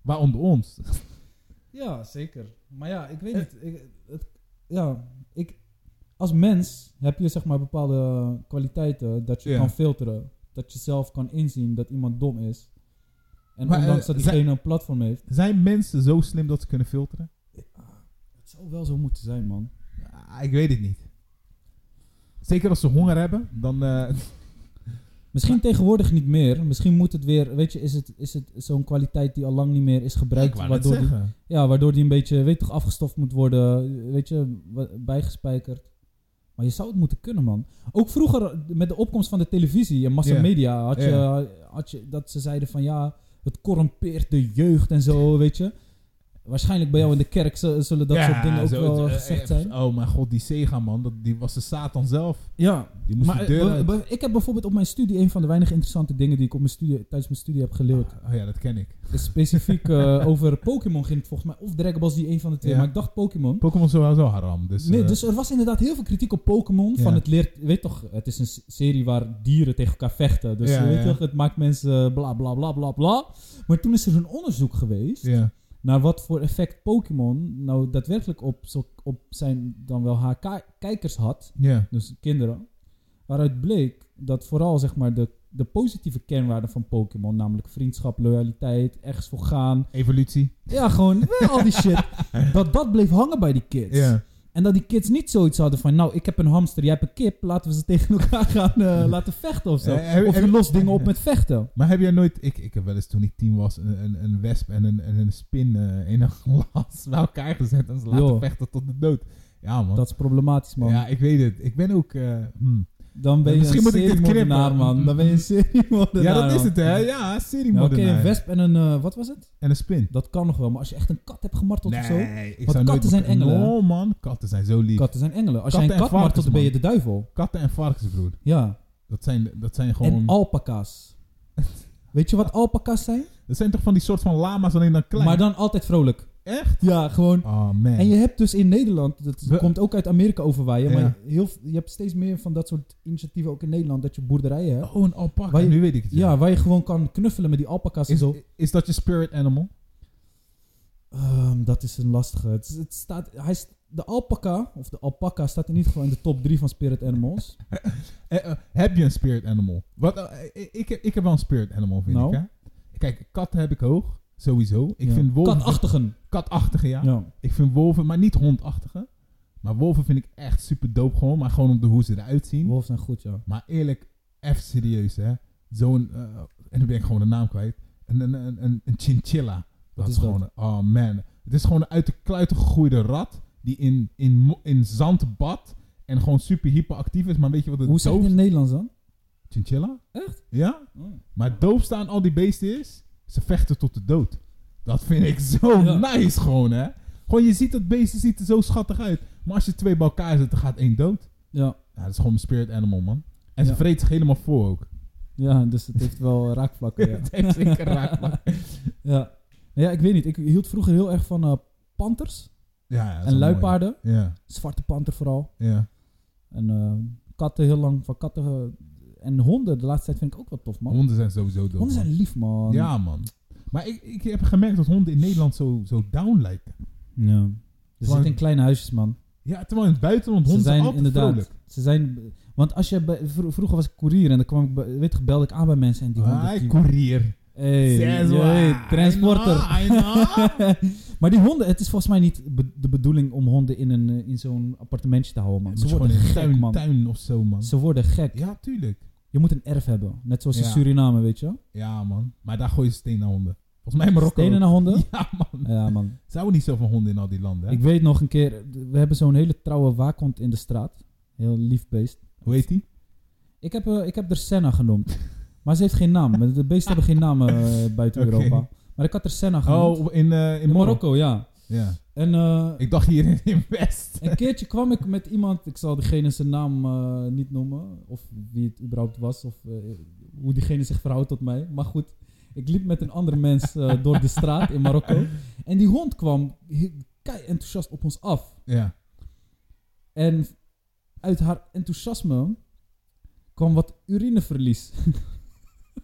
[SPEAKER 1] Waaronder ons.
[SPEAKER 3] ja, zeker. Maar ja,
[SPEAKER 1] Eh.
[SPEAKER 3] ik weet niet. Ik, het- ja, ik, als mens heb je zeg maar bepaalde kwaliteiten dat je
[SPEAKER 1] Ja.
[SPEAKER 3] kan filteren. Dat je zelf kan inzien dat iemand dom is. En
[SPEAKER 1] Maar,
[SPEAKER 3] ondanks
[SPEAKER 1] eh,
[SPEAKER 3] dat diegene een platform heeft.
[SPEAKER 1] Zijn mensen zo slim dat ze kunnen filteren?
[SPEAKER 3] Het zou wel zo moeten zijn, man.
[SPEAKER 1] Ah, ik weet het niet. Zeker als ze honger hebben, dan... eh, <laughs>
[SPEAKER 3] Misschien tegenwoordig niet meer. Misschien moet het weer, weet je, is het, is het zo'n kwaliteit die al lang niet meer is gebruikt.
[SPEAKER 1] ik wou net
[SPEAKER 3] waardoor die,
[SPEAKER 1] zeggen.
[SPEAKER 3] Ja, waardoor die een beetje, weet toch, afgestoft moet worden, weet je, wa- bijgespijkerd. Maar je zou het moeten kunnen, man. Ook vroeger, met de opkomst van de televisie en massamedia, had je,
[SPEAKER 1] Ja.
[SPEAKER 3] had je dat ze zeiden van ja, het corrumpeert de jeugd en zo, weet je. Waarschijnlijk bij jou in de kerk z- zullen dat soort dingen ook
[SPEAKER 1] zo-
[SPEAKER 3] wel
[SPEAKER 1] eh,
[SPEAKER 3] gezegd
[SPEAKER 1] eh,
[SPEAKER 3] zijn.
[SPEAKER 1] Oh mijn god, die Sega, man. Dat, die was de Satan zelf.
[SPEAKER 3] Ja,
[SPEAKER 1] Die moest
[SPEAKER 3] maar
[SPEAKER 1] de deur
[SPEAKER 3] eh,
[SPEAKER 1] uit.
[SPEAKER 3] be- be- ik heb bijvoorbeeld op mijn studie een van de weinige interessante dingen die ik op mijn studie, tijdens mijn studie heb geleerd. <laughs>
[SPEAKER 1] Oh ja, dat ken ik.
[SPEAKER 3] Is specifiek eh, over Pokémon ging het volgens mij, of Dragon Ball Z, een van de twee,
[SPEAKER 1] Ja.
[SPEAKER 3] maar ik dacht Pokémon.
[SPEAKER 1] Pokémon is sowieso haram. Dus,
[SPEAKER 3] nee,
[SPEAKER 1] eh,
[SPEAKER 3] dus er was inderdaad heel veel kritiek op Pokémon. Van
[SPEAKER 1] Ja.
[SPEAKER 3] het leert, weet toch, het is een s- serie waar dieren tegen elkaar vechten. Dus
[SPEAKER 1] Ja,
[SPEAKER 3] je weet
[SPEAKER 1] ja.
[SPEAKER 3] toch, het maakt mensen eh, bla bla bla bla bla. Maar toen is er een onderzoek geweest
[SPEAKER 1] Ja.
[SPEAKER 3] naar wat voor effect Pokémon nou daadwerkelijk op, zo- op zijn dan wel haar ka- kijkers had.
[SPEAKER 1] Ja.
[SPEAKER 3] Dus kinderen. Waaruit bleek dat vooral zeg maar de, de positieve kernwaarden van Pokémon, namelijk vriendschap, loyaliteit, ergens voor gaan.
[SPEAKER 1] Evolutie.
[SPEAKER 3] Ja, gewoon eh, al die
[SPEAKER 1] <laughs>
[SPEAKER 3] shit. Dat dat bleef hangen bij die kids.
[SPEAKER 1] Ja.
[SPEAKER 3] En dat die kids niet zoiets hadden van, nou, ik heb een hamster, jij hebt een kip, laten we ze <laughs> tegen elkaar gaan
[SPEAKER 1] <laughs>
[SPEAKER 3] eh, laten vechten of zo.
[SPEAKER 1] Eh, heb-
[SPEAKER 3] of je
[SPEAKER 1] heb-
[SPEAKER 3] lost dingen op met vechten.
[SPEAKER 1] Maar heb jij nooit... Ik, ik heb wel eens toen ik tien was een, een, een wesp en een, en een spin eh, in een <laughs> glas bij elkaar gezet. En ze laten
[SPEAKER 3] Joh.
[SPEAKER 1] vechten tot de dood. Ja, man.
[SPEAKER 3] Dat is problematisch, man.
[SPEAKER 1] Ja, ik weet het. Ik ben ook... eh, hmm.
[SPEAKER 3] Dan ben je
[SPEAKER 1] Misschien
[SPEAKER 3] een
[SPEAKER 1] moet ik dit
[SPEAKER 3] seriemoordenaar,
[SPEAKER 1] knippen.
[SPEAKER 3] man. Dan ben je een <laughs> seriemoordenaar.
[SPEAKER 1] Ja, dat is
[SPEAKER 3] man.
[SPEAKER 1] het, hè? Ja, serie
[SPEAKER 3] Ja, Oké,
[SPEAKER 1] moordenaar.
[SPEAKER 3] een wesp en een... eh, wat was het?
[SPEAKER 1] En een spin.
[SPEAKER 3] Dat kan nog wel, maar als je echt een kat hebt gemarteld of zo...
[SPEAKER 1] Nee, ik
[SPEAKER 3] Want
[SPEAKER 1] zou
[SPEAKER 3] katten zijn
[SPEAKER 1] nooit...
[SPEAKER 3] engelen, hè?
[SPEAKER 1] No, man. Katten zijn zo lief.
[SPEAKER 3] Katten zijn engelen. Als
[SPEAKER 1] Katten
[SPEAKER 3] jij een
[SPEAKER 1] en
[SPEAKER 3] kat martelt, dan ben je de duivel.
[SPEAKER 1] Katten en varkens, broer.
[SPEAKER 3] Ja.
[SPEAKER 1] Dat zijn, dat zijn gewoon...
[SPEAKER 3] En
[SPEAKER 1] <laughs>
[SPEAKER 3] alpaca's. Weet je wat alpaca's zijn?
[SPEAKER 1] dat zijn toch van die soort van lama's, alleen dan klein?
[SPEAKER 3] Maar dan altijd vrolijk.
[SPEAKER 1] Echt?
[SPEAKER 3] Ja, gewoon...
[SPEAKER 1] Oh, man.
[SPEAKER 3] En je hebt dus in Nederland, dat
[SPEAKER 1] We-
[SPEAKER 3] komt ook uit Amerika overwaaien, maar
[SPEAKER 1] Ja.
[SPEAKER 3] heel, v- je hebt steeds meer van dat soort initiatieven ook in Nederland, dat je boerderijen hebt.
[SPEAKER 1] Oh, een alpaca.
[SPEAKER 3] Waar je-
[SPEAKER 1] Nu weet ik het.
[SPEAKER 3] Ja, waar je gewoon kan knuffelen met die alpaca's en
[SPEAKER 1] Is,
[SPEAKER 3] zo.
[SPEAKER 1] is dat je spirit animal?
[SPEAKER 3] Ehm, dat is een lastige. Het, is- het staat, hij, is- de alpaca, of de alpaca, staat in ieder geval in de top 3 van Spirit Animals.
[SPEAKER 1] Eh, eh, heb je een spirit animal? Wat, eh, eh, ik, heb, ik heb wel een spirit animal, vind
[SPEAKER 3] Nou.
[SPEAKER 1] ik. Hè? Kijk, katten heb ik hoog. Sowieso. Ik
[SPEAKER 3] Ja.
[SPEAKER 1] vind wolven...
[SPEAKER 3] Katachtigen.
[SPEAKER 1] katachtige, ja.
[SPEAKER 3] Ja.
[SPEAKER 1] Ik vind wolven, maar niet hondachtige. Maar wolven vind ik echt super dope gewoon. Maar gewoon om de hoe ze eruit zien.
[SPEAKER 3] Wolven zijn goed, ja.
[SPEAKER 1] Maar eerlijk, even serieus, hè. Zo'n... eh, en nu ben ik gewoon de naam kwijt. Een, een, een, een, een chinchilla. Dat
[SPEAKER 3] is
[SPEAKER 1] is
[SPEAKER 3] dat?
[SPEAKER 1] gewoon... een- Oh, man. Het is gewoon een uit de kluiten gegooide rat... die in, in, mo- in zand badt... en gewoon super hyperactief is. Maar weet je wat het
[SPEAKER 3] Hoe zeg je het
[SPEAKER 1] doofste-
[SPEAKER 3] in het Nederlands dan?
[SPEAKER 1] Chinchilla?
[SPEAKER 3] Echt?
[SPEAKER 1] Ja? Maar het doofste aan al die beesten is... ze vechten tot de dood. Dat vind ik zo
[SPEAKER 3] Ja.
[SPEAKER 1] nice gewoon, hè. Gewoon, je ziet dat beesten ziet er zo schattig uit. Maar als je twee bij elkaar zet, dan gaat één dood.
[SPEAKER 3] Ja.
[SPEAKER 1] Ja, dat is gewoon een spirit animal, man. En ze
[SPEAKER 3] Ja.
[SPEAKER 1] vreet zich helemaal voor
[SPEAKER 3] <laughs>
[SPEAKER 1] ook.
[SPEAKER 3] ja, dus het heeft wel raakvlakken. Ja.
[SPEAKER 1] Het heeft zeker raak.
[SPEAKER 3] <laughs> ja. ja, ik weet niet. Ik hield vroeger heel erg van eh panters
[SPEAKER 1] Ja, dat is
[SPEAKER 3] en
[SPEAKER 1] wel mooi.
[SPEAKER 3] luipaarden.
[SPEAKER 1] Ja,
[SPEAKER 3] Zwarte panter vooral.
[SPEAKER 1] ja.
[SPEAKER 3] En eh, katten heel lang van katten. eh, en honden de laatste tijd vind ik ook wel tof, man.
[SPEAKER 1] Honden zijn sowieso dood.
[SPEAKER 3] Honden
[SPEAKER 1] man.
[SPEAKER 3] zijn lief, man.
[SPEAKER 1] Ja, man. Maar ik, ik heb gemerkt dat honden in Nederland zo, zo down lijken.
[SPEAKER 3] ja. Ze
[SPEAKER 1] Gewoon-
[SPEAKER 3] zitten in kleine huisjes, man.
[SPEAKER 1] Ja, terwijl in het buitenland
[SPEAKER 3] Ze
[SPEAKER 1] honden zijn,
[SPEAKER 3] zijn
[SPEAKER 1] altijd
[SPEAKER 3] inderdaad.
[SPEAKER 1] vrolijk.
[SPEAKER 3] Ze zijn. Want als je. bij- vro- vroeger was ik koerier en dan kwam ik. bij- Weet je, belde ik aan bij mensen en die honden.
[SPEAKER 1] Hai,
[SPEAKER 3] die-
[SPEAKER 1] koerier.
[SPEAKER 3] hey,
[SPEAKER 1] Ah, Zes
[SPEAKER 3] hey,
[SPEAKER 1] waar.
[SPEAKER 3] transporter.
[SPEAKER 1] I know, I know.
[SPEAKER 3] <laughs> maar die honden, het is volgens mij niet be- de bedoeling om honden in, een, eh, in zo'n appartementje te houden, man.
[SPEAKER 1] Moet
[SPEAKER 3] Ze
[SPEAKER 1] je gewoon
[SPEAKER 3] worden
[SPEAKER 1] in een
[SPEAKER 3] gek,
[SPEAKER 1] tuin,
[SPEAKER 3] man.
[SPEAKER 1] tuin of zo, man.
[SPEAKER 3] Ze worden gek.
[SPEAKER 1] Ja, tuurlijk.
[SPEAKER 3] Je moet een erf hebben. Net zoals in
[SPEAKER 1] Ja.
[SPEAKER 3] Suriname, weet je.
[SPEAKER 1] Ja, man. Maar daar gooien ze stenen naar honden. Volgens mij in Marokko.
[SPEAKER 3] Stenen naar honden.
[SPEAKER 1] <laughs> ook. Ja, man.
[SPEAKER 3] Ja, man.
[SPEAKER 1] Ze houden niet zoveel honden in al die landen, hè?
[SPEAKER 3] Ik weet nog een keer, d- we hebben zo'n hele trouwe waakhond in de straat. Heel lief beest.
[SPEAKER 1] Hoe heet die?
[SPEAKER 3] Ik heb, eh, ik heb er Senna
[SPEAKER 1] <laughs>
[SPEAKER 3] genoemd. maar ze heeft geen naam. De beesten hebben geen namen eh,
[SPEAKER 1] <laughs>
[SPEAKER 3] buiten
[SPEAKER 1] Oké.
[SPEAKER 3] Europa. Maar ik had er Senna genoemd.
[SPEAKER 1] Oh, in, eh, in
[SPEAKER 3] in
[SPEAKER 1] Marokko.
[SPEAKER 3] Marokko, ja.
[SPEAKER 1] Ja.
[SPEAKER 3] En eh,
[SPEAKER 1] Ik dacht hier in, in West.
[SPEAKER 3] een keertje kwam ik met iemand, ik zal diegene zijn naam eh, niet noemen. Of wie het überhaupt was. Of eh, hoe diegene zich verhoudt tot mij. Maar goed, ik liep met een andere mens eh, door de straat in
[SPEAKER 1] <laughs>
[SPEAKER 3] Marokko. En die hond kwam he- kei enthousiast op ons af.
[SPEAKER 1] Ja.
[SPEAKER 3] En uit haar enthousiasme kwam wat urineverlies. <laughs>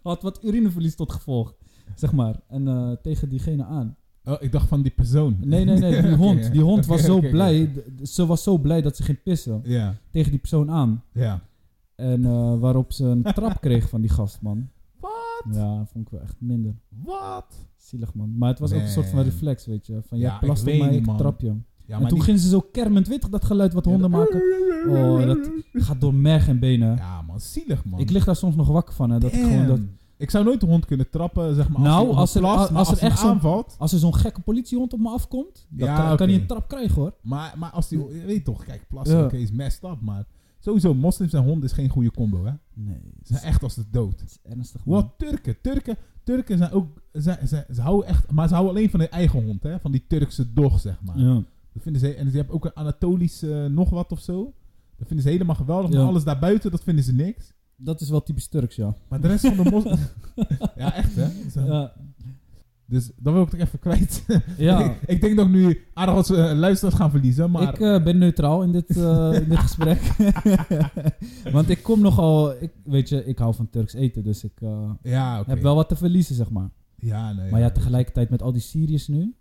[SPEAKER 3] Had wat urineverlies tot gevolg, zeg maar. En eh, tegen diegene aan.
[SPEAKER 1] Oh, ik dacht van die persoon.
[SPEAKER 3] Nee,
[SPEAKER 1] <laughs>
[SPEAKER 3] nee, nee, die
[SPEAKER 1] Oké,
[SPEAKER 3] hond. Die hond
[SPEAKER 1] oké,
[SPEAKER 3] was zo
[SPEAKER 1] <laughs> oké, oké.
[SPEAKER 3] blij. d- d- Ze was zo blij dat ze ging pissen.
[SPEAKER 1] Ja,
[SPEAKER 3] Tegen die persoon aan.
[SPEAKER 1] ja.
[SPEAKER 3] En eh, waarop ze een
[SPEAKER 1] <laughs>
[SPEAKER 3] trap kreeg van die gast, man.
[SPEAKER 1] Wat?
[SPEAKER 3] Ja, vond ik wel echt minder.
[SPEAKER 1] Wat?
[SPEAKER 3] Zielig, man. Maar het was ook een soort van
[SPEAKER 1] Man.
[SPEAKER 3] reflex, weet je. Van, jij
[SPEAKER 1] Ja, ik
[SPEAKER 3] plast op
[SPEAKER 1] weet
[SPEAKER 3] mij,
[SPEAKER 1] niet,
[SPEAKER 3] ik
[SPEAKER 1] man.
[SPEAKER 3] trap je.
[SPEAKER 1] Ja,
[SPEAKER 3] en toen
[SPEAKER 1] die-
[SPEAKER 3] gingen ze zo kermend, weet je, dat geluid wat honden maken. Oh, dat gaat door merg en benen.
[SPEAKER 1] Ja, man. Zielig, man.
[SPEAKER 3] Ik lig daar soms nog wakker van. Hè, dat ik
[SPEAKER 1] Damn.
[SPEAKER 3] gewoon dat,
[SPEAKER 1] Ik zou nooit de hond kunnen trappen, zeg maar.
[SPEAKER 3] Nou,
[SPEAKER 1] als, hij
[SPEAKER 3] als er-
[SPEAKER 1] op een
[SPEAKER 3] als-
[SPEAKER 1] plas, maar
[SPEAKER 3] als er
[SPEAKER 1] als hij
[SPEAKER 3] echt zo'n-
[SPEAKER 1] aanvalt.
[SPEAKER 3] als er zo'n gekke politiehond op me afkomt, dan
[SPEAKER 1] Ja,
[SPEAKER 3] kan, kan
[SPEAKER 1] oké.
[SPEAKER 3] hij een trap krijgen hoor.
[SPEAKER 1] Maar, maar als die... Je weet toch, kijk, plassen
[SPEAKER 3] Ja.
[SPEAKER 1] oké, is messed up, maar... Sowieso, moslims en honden is geen goede combo, hè?
[SPEAKER 3] Nee,
[SPEAKER 1] Ze zijn echt als de dood.
[SPEAKER 3] is ernstig. man.
[SPEAKER 1] Wat Turken? Turken, Turken zijn ook... Ze, ze, ze houden echt... Maar ze houden alleen van hun eigen hond, hè? Van die Turkse dog, zeg maar.
[SPEAKER 3] Ja.
[SPEAKER 1] Dat vinden ze, en ze hebben ook een Anatolisch eh, nog wat of zo. Dat vinden ze helemaal geweldig.
[SPEAKER 3] Ja.
[SPEAKER 1] Maar alles daarbuiten, dat vinden ze niks.
[SPEAKER 3] Dat is wel typisch Turks, ja.
[SPEAKER 1] Maar de rest van de moslims...
[SPEAKER 3] <laughs>
[SPEAKER 1] <laughs> ja, echt, hè? Zo.
[SPEAKER 3] Ja,
[SPEAKER 1] Dus dat wil ik toch even kwijt.
[SPEAKER 3] ja.
[SPEAKER 1] <laughs> ik, ik denk dat ik nu aardig wat eh, luisteraars gaan verliezen, maar...
[SPEAKER 3] ik eh, ben neutraal in dit, eh, in
[SPEAKER 1] <laughs>
[SPEAKER 3] dit gesprek. <laughs> Want ik kom nogal, ik, weet je, ik hou van Turks eten, dus ik eh,
[SPEAKER 1] ja, oké.
[SPEAKER 3] heb wel wat te verliezen, zeg maar.
[SPEAKER 1] Ja, nee.
[SPEAKER 3] Maar ja, tegelijkertijd met al die Syriërs nu.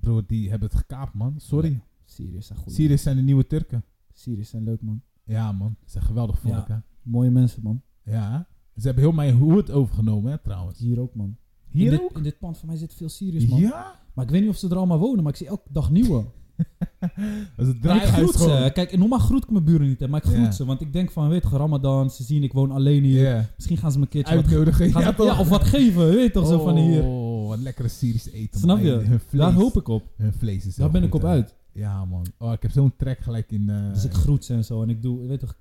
[SPEAKER 1] Broer, die hebben het gekaapt, man. Sorry.
[SPEAKER 3] Syriërs zijn goed.
[SPEAKER 1] Syriërs zijn de nieuwe Turken.
[SPEAKER 3] Syriërs zijn leuk, man.
[SPEAKER 1] Ja, man. Ze zijn geweldig volk,
[SPEAKER 3] Ja.
[SPEAKER 1] hè?
[SPEAKER 3] Mooie mensen, man.
[SPEAKER 1] Ja, hè? ze hebben heel mijn hoed overgenomen, hè, trouwens.
[SPEAKER 3] Hier ook, man.
[SPEAKER 1] Hier
[SPEAKER 3] in, dit,
[SPEAKER 1] ook?
[SPEAKER 3] in dit pand van mij zit veel Syriërs, man.
[SPEAKER 1] Ja?
[SPEAKER 3] Maar ik weet niet of ze er allemaal wonen, maar ik zie elke
[SPEAKER 1] <laughs>
[SPEAKER 3] dag nieuwe.
[SPEAKER 1] Dat is het
[SPEAKER 3] En ik
[SPEAKER 1] draaihuis
[SPEAKER 3] groet ze.
[SPEAKER 1] gewoon.
[SPEAKER 3] hè. Kijk, en normaal groet ik mijn buren niet, hè, maar ik groet
[SPEAKER 1] Ja.
[SPEAKER 3] ze. Want ik denk van, weet je, Ramadan, ze zien ik woon alleen hier.
[SPEAKER 1] Ja.
[SPEAKER 3] Misschien gaan ze me een keertje wat,
[SPEAKER 1] Uitnodigen.
[SPEAKER 3] gaan ze- ja, of wat geven, weet je toch, zo van hier.
[SPEAKER 1] Oh, wat lekkere Syrisch eten.
[SPEAKER 3] Snap
[SPEAKER 1] man.
[SPEAKER 3] je?
[SPEAKER 1] Hey, Hun vlees,
[SPEAKER 3] Daar hoop ik op.
[SPEAKER 1] Hun vlees is
[SPEAKER 3] Daar
[SPEAKER 1] heel
[SPEAKER 3] ben ik
[SPEAKER 1] goed,
[SPEAKER 3] op
[SPEAKER 1] hè.
[SPEAKER 3] uit.
[SPEAKER 1] Ja, man. Oh, ik heb zo'n trek gelijk in... eh,
[SPEAKER 3] Dus ik groet ze en zo. En ik doe, weet je toch,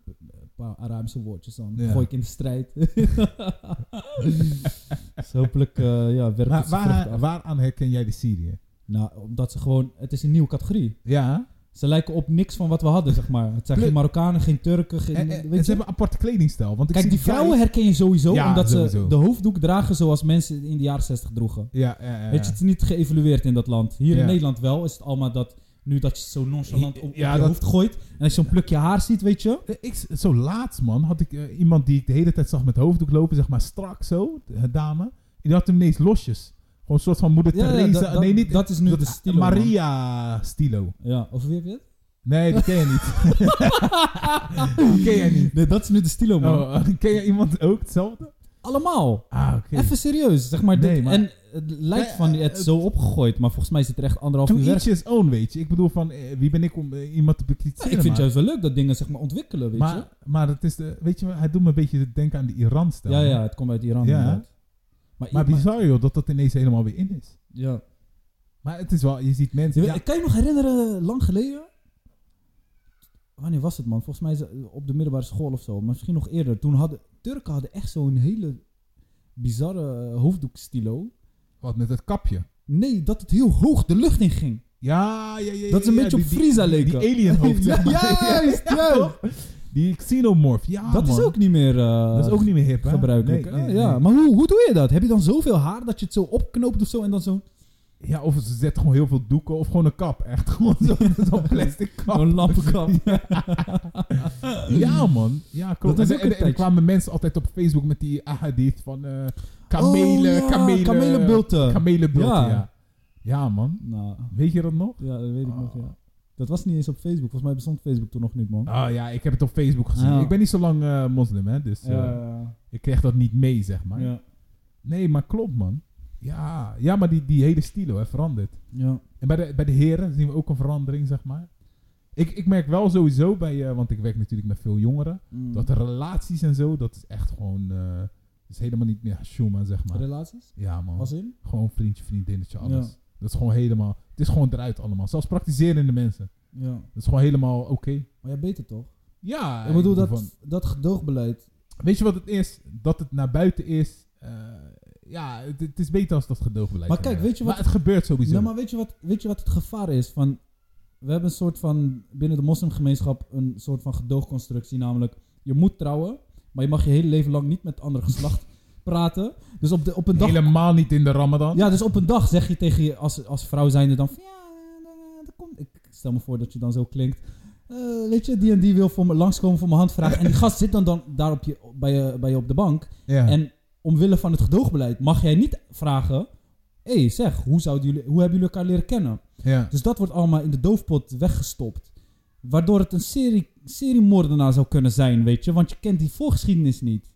[SPEAKER 3] paar Arabische woordjes dan.
[SPEAKER 1] Ja.
[SPEAKER 3] Gooi ik in de strijd. <laughs> dus hopelijk eh, ja, werkt het
[SPEAKER 1] Maar
[SPEAKER 3] zijn vruchten
[SPEAKER 1] waar,
[SPEAKER 3] af.
[SPEAKER 1] waaraan herken jij de Syrië?
[SPEAKER 3] Nou, omdat ze gewoon... Het is een nieuwe categorie.
[SPEAKER 1] Ja.
[SPEAKER 3] Ze lijken op niks van wat we hadden, zeg maar. Het zijn
[SPEAKER 1] Plus- Eh,
[SPEAKER 3] geen Marokkanen, geen Turken, geen...
[SPEAKER 1] En, en-
[SPEAKER 3] weet
[SPEAKER 1] en
[SPEAKER 3] je?
[SPEAKER 1] ze hebben een aparte kledingstijl. Want ik
[SPEAKER 3] Kijk,
[SPEAKER 1] zie
[SPEAKER 3] die vrouwen herken je sowieso,
[SPEAKER 1] Ja,
[SPEAKER 3] omdat
[SPEAKER 1] sowieso.
[SPEAKER 3] ze de hoofddoek dragen zoals mensen in de jaren 60 droegen.
[SPEAKER 1] Ja, ja, ja.
[SPEAKER 3] Weet je, het is niet geëvalueerd in dat land. Hier
[SPEAKER 1] Ja.
[SPEAKER 3] in Nederland wel is het allemaal dat... Nu dat je het zo nonchalant op, op
[SPEAKER 1] Ja,
[SPEAKER 3] je
[SPEAKER 1] dat-
[SPEAKER 3] hoofd gooit... en als je zo'n plukje haar ziet, weet je...
[SPEAKER 1] Eh, Ik, zo laatst, man, had ik eh, iemand die ik de hele tijd zag met hoofddoek lopen, zeg maar strak zo, de dame. En die had hem ineens losjes. Gewoon een soort van moeder
[SPEAKER 3] Ja, ja,
[SPEAKER 1] Theresa.
[SPEAKER 3] dat- dat-
[SPEAKER 1] nee, niet
[SPEAKER 3] dat is nu
[SPEAKER 1] dat-
[SPEAKER 3] de stilo, man.
[SPEAKER 1] Maria stilo.
[SPEAKER 3] Ja, of wie heb
[SPEAKER 1] <laughs>
[SPEAKER 3] je het?
[SPEAKER 1] Nee, die ken je
[SPEAKER 3] <laughs>
[SPEAKER 1] niet. Die ken jij niet.
[SPEAKER 3] Nee, dat is nu de stilo, man.
[SPEAKER 1] Oh, <laughs> eh, ken jij iemand ook hetzelfde?
[SPEAKER 3] Allemaal.
[SPEAKER 1] Ah, oké.
[SPEAKER 3] Even serieus, zeg maar. dit-
[SPEAKER 1] Nee, maar-
[SPEAKER 3] En het lijkt
[SPEAKER 1] Nee,
[SPEAKER 3] van
[SPEAKER 1] eh,
[SPEAKER 3] het
[SPEAKER 1] het-
[SPEAKER 3] zo opgegooid, maar volgens mij zit er echt anderhalf
[SPEAKER 1] Toen
[SPEAKER 3] uur werk.
[SPEAKER 1] each his own, weet je. Ik bedoel van, eh, wie ben ik om eh, iemand te
[SPEAKER 3] Ja,
[SPEAKER 1] bekritiseren?
[SPEAKER 3] ik vind
[SPEAKER 1] maar-
[SPEAKER 3] juist wel leuk dat dingen zeg maar ontwikkelen, weet je.
[SPEAKER 1] maar, maar het is de, weet je, hij doet me een beetje denken aan de Iran-stijl.
[SPEAKER 3] Ja, ja, het komt uit Iran.
[SPEAKER 1] Ja.
[SPEAKER 3] inderdaad. Maar,
[SPEAKER 1] Maar bizar joh, dat dat ineens helemaal weer in is.
[SPEAKER 3] ja.
[SPEAKER 1] Maar het is wel, je ziet mensen...
[SPEAKER 3] Je weet- Kan je nog herinneren, lang geleden? Wanneer was het, man? Volgens mij is- op de middelbare school of zo. Maar misschien nog eerder. Toen hadden... Turken hadden echt zo'n hele bizarre eh, hoofddoekstilo.
[SPEAKER 1] Wat met dat kapje.
[SPEAKER 3] Nee, dat het heel hoog de lucht in ging.
[SPEAKER 1] Ja, ja, ja.
[SPEAKER 3] Dat is een
[SPEAKER 1] ja,
[SPEAKER 3] beetje
[SPEAKER 1] die-
[SPEAKER 3] op Frieza
[SPEAKER 1] die-
[SPEAKER 3] leken.
[SPEAKER 1] Die alien hoofd.
[SPEAKER 3] <laughs> Ja, juist,
[SPEAKER 1] <laughs>
[SPEAKER 3] juist.
[SPEAKER 1] Die xenomorph. Ja,
[SPEAKER 3] dat is
[SPEAKER 1] Ah, man.
[SPEAKER 3] ook niet meer... eh,
[SPEAKER 1] dat is ook niet meer hip, hè?
[SPEAKER 3] gebruikelijk.
[SPEAKER 1] Nee, nee,
[SPEAKER 3] Ah, ja,
[SPEAKER 1] nee.
[SPEAKER 3] maar hoe, hoe doe je dat? Heb je dan zoveel haar dat je het zo opknoopt of zo en dan zo
[SPEAKER 1] Ja, of ze zet gewoon heel veel doeken of gewoon een kap. Echt <laughs> gewoon
[SPEAKER 3] <laughs>
[SPEAKER 1] zo- <laughs> zo'n plastic kap.
[SPEAKER 3] een lampenkap?
[SPEAKER 1] Ja, man. Ja, klopt.
[SPEAKER 3] Dat is
[SPEAKER 1] en,
[SPEAKER 3] ook
[SPEAKER 1] en- en
[SPEAKER 3] een
[SPEAKER 1] er
[SPEAKER 3] touch.
[SPEAKER 1] kwamen mensen altijd op Facebook met die ahadith van eh kamelen,
[SPEAKER 3] Oh, ja,
[SPEAKER 1] kamelen.
[SPEAKER 3] kamelenbulten.
[SPEAKER 1] kamelenbulten, ja.
[SPEAKER 3] Ja.
[SPEAKER 1] ja. man.
[SPEAKER 3] nou,
[SPEAKER 1] Weet je dat nog?
[SPEAKER 3] ja, dat weet ik nog,
[SPEAKER 1] Ah.
[SPEAKER 3] ja. Dat was niet eens op Facebook. Volgens mij bestond Facebook toen nog niet, man.
[SPEAKER 1] Ah ja, ik heb het op Facebook gezien.
[SPEAKER 3] Ja.
[SPEAKER 1] Ik ben niet zo lang eh, moslim, hè. Dus eh,
[SPEAKER 3] Ja,
[SPEAKER 1] ik kreeg dat niet mee, zeg maar.
[SPEAKER 3] ja,
[SPEAKER 1] Nee, maar klopt, man. Ja, ja maar die, die hele stilo hè, verandert.
[SPEAKER 3] ja.
[SPEAKER 1] En bij de, bij de heren zien we ook een verandering, zeg maar. Ik, ik merk wel sowieso bij, eh, want ik werk natuurlijk met veel jongeren,
[SPEAKER 3] Mm.
[SPEAKER 1] dat de relaties en zo, dat is echt gewoon, eh, is helemaal niet meer shuma, zeg maar.
[SPEAKER 3] Relaties?
[SPEAKER 1] Ja, man.
[SPEAKER 3] Als in?
[SPEAKER 1] Gewoon vriendje, vriendinnetje, alles.
[SPEAKER 3] Ja.
[SPEAKER 1] Dat is gewoon helemaal, het is gewoon eruit allemaal. Zelfs praktiserende mensen.
[SPEAKER 3] Ja.
[SPEAKER 1] Dat is gewoon helemaal oké.
[SPEAKER 3] Maar jij weet het toch?
[SPEAKER 1] Ja,
[SPEAKER 3] ik bedoel, dat,
[SPEAKER 1] van-
[SPEAKER 3] dat gedoogbeleid...
[SPEAKER 1] weet je wat het is? Dat het naar buiten is. eh, ja, het, het is beter als dat gedoogbeleid.
[SPEAKER 3] Maar kijk, weet je wat-
[SPEAKER 1] Maar het gebeurt sowieso.
[SPEAKER 3] Nou, maar weet je, wat, weet je wat het gevaar is? Van, we hebben een soort van, binnen de moslimgemeenschap, een soort van gedoogconstructie. Namelijk, je moet trouwen, maar je mag je hele leven lang niet met het andere geslacht <laughs> praten. Dus op, de, op een dag...
[SPEAKER 1] Helemaal niet in de Ramadan.
[SPEAKER 3] Ja, dus op een dag zeg je tegen je als, als vrouw zijnde dan van ja, eh, dat komt. Ik stel me voor dat je dan zo klinkt. Eh, weet je, die en die wil voor me langskomen voor mijn hand vragen. En die gast zit dan, dan daar op je, bij, je, bij je op de bank.
[SPEAKER 1] Ja.
[SPEAKER 3] En omwille van het gedoogbeleid mag jij niet vragen. Hé, hey, zeg, hoe, zouden jullie, hoe hebben jullie elkaar leren kennen?
[SPEAKER 1] ja.
[SPEAKER 3] Dus dat wordt allemaal in de doofpot weggestopt. Waardoor het een serie, seriemoordenaar zou kunnen zijn, weet je. Want je kent die voorgeschiedenis niet.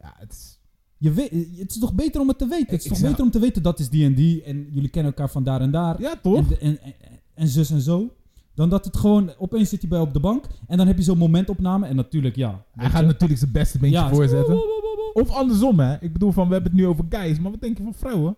[SPEAKER 1] Ja, het is-
[SPEAKER 3] Je weet, het is toch beter om het te weten? Het is
[SPEAKER 1] Ik
[SPEAKER 3] toch
[SPEAKER 1] zou-
[SPEAKER 3] beter om te weten dat is die en die en jullie kennen elkaar van daar en daar.
[SPEAKER 1] ja, toch?
[SPEAKER 3] En, en, en, en zus en zo. Dan dat het gewoon opeens zit hij bij op de bank en dan heb je zo'n momentopname en natuurlijk ja. weet
[SPEAKER 1] Hij gaat
[SPEAKER 3] je.
[SPEAKER 1] natuurlijk zijn beste beentje
[SPEAKER 3] Ja,
[SPEAKER 1] voorzetten.
[SPEAKER 3] zo- woe, woe, woe, woe.
[SPEAKER 1] Of andersom, hè. Ik bedoel, van, we hebben het nu over guys, maar wat denk je van vrouwen?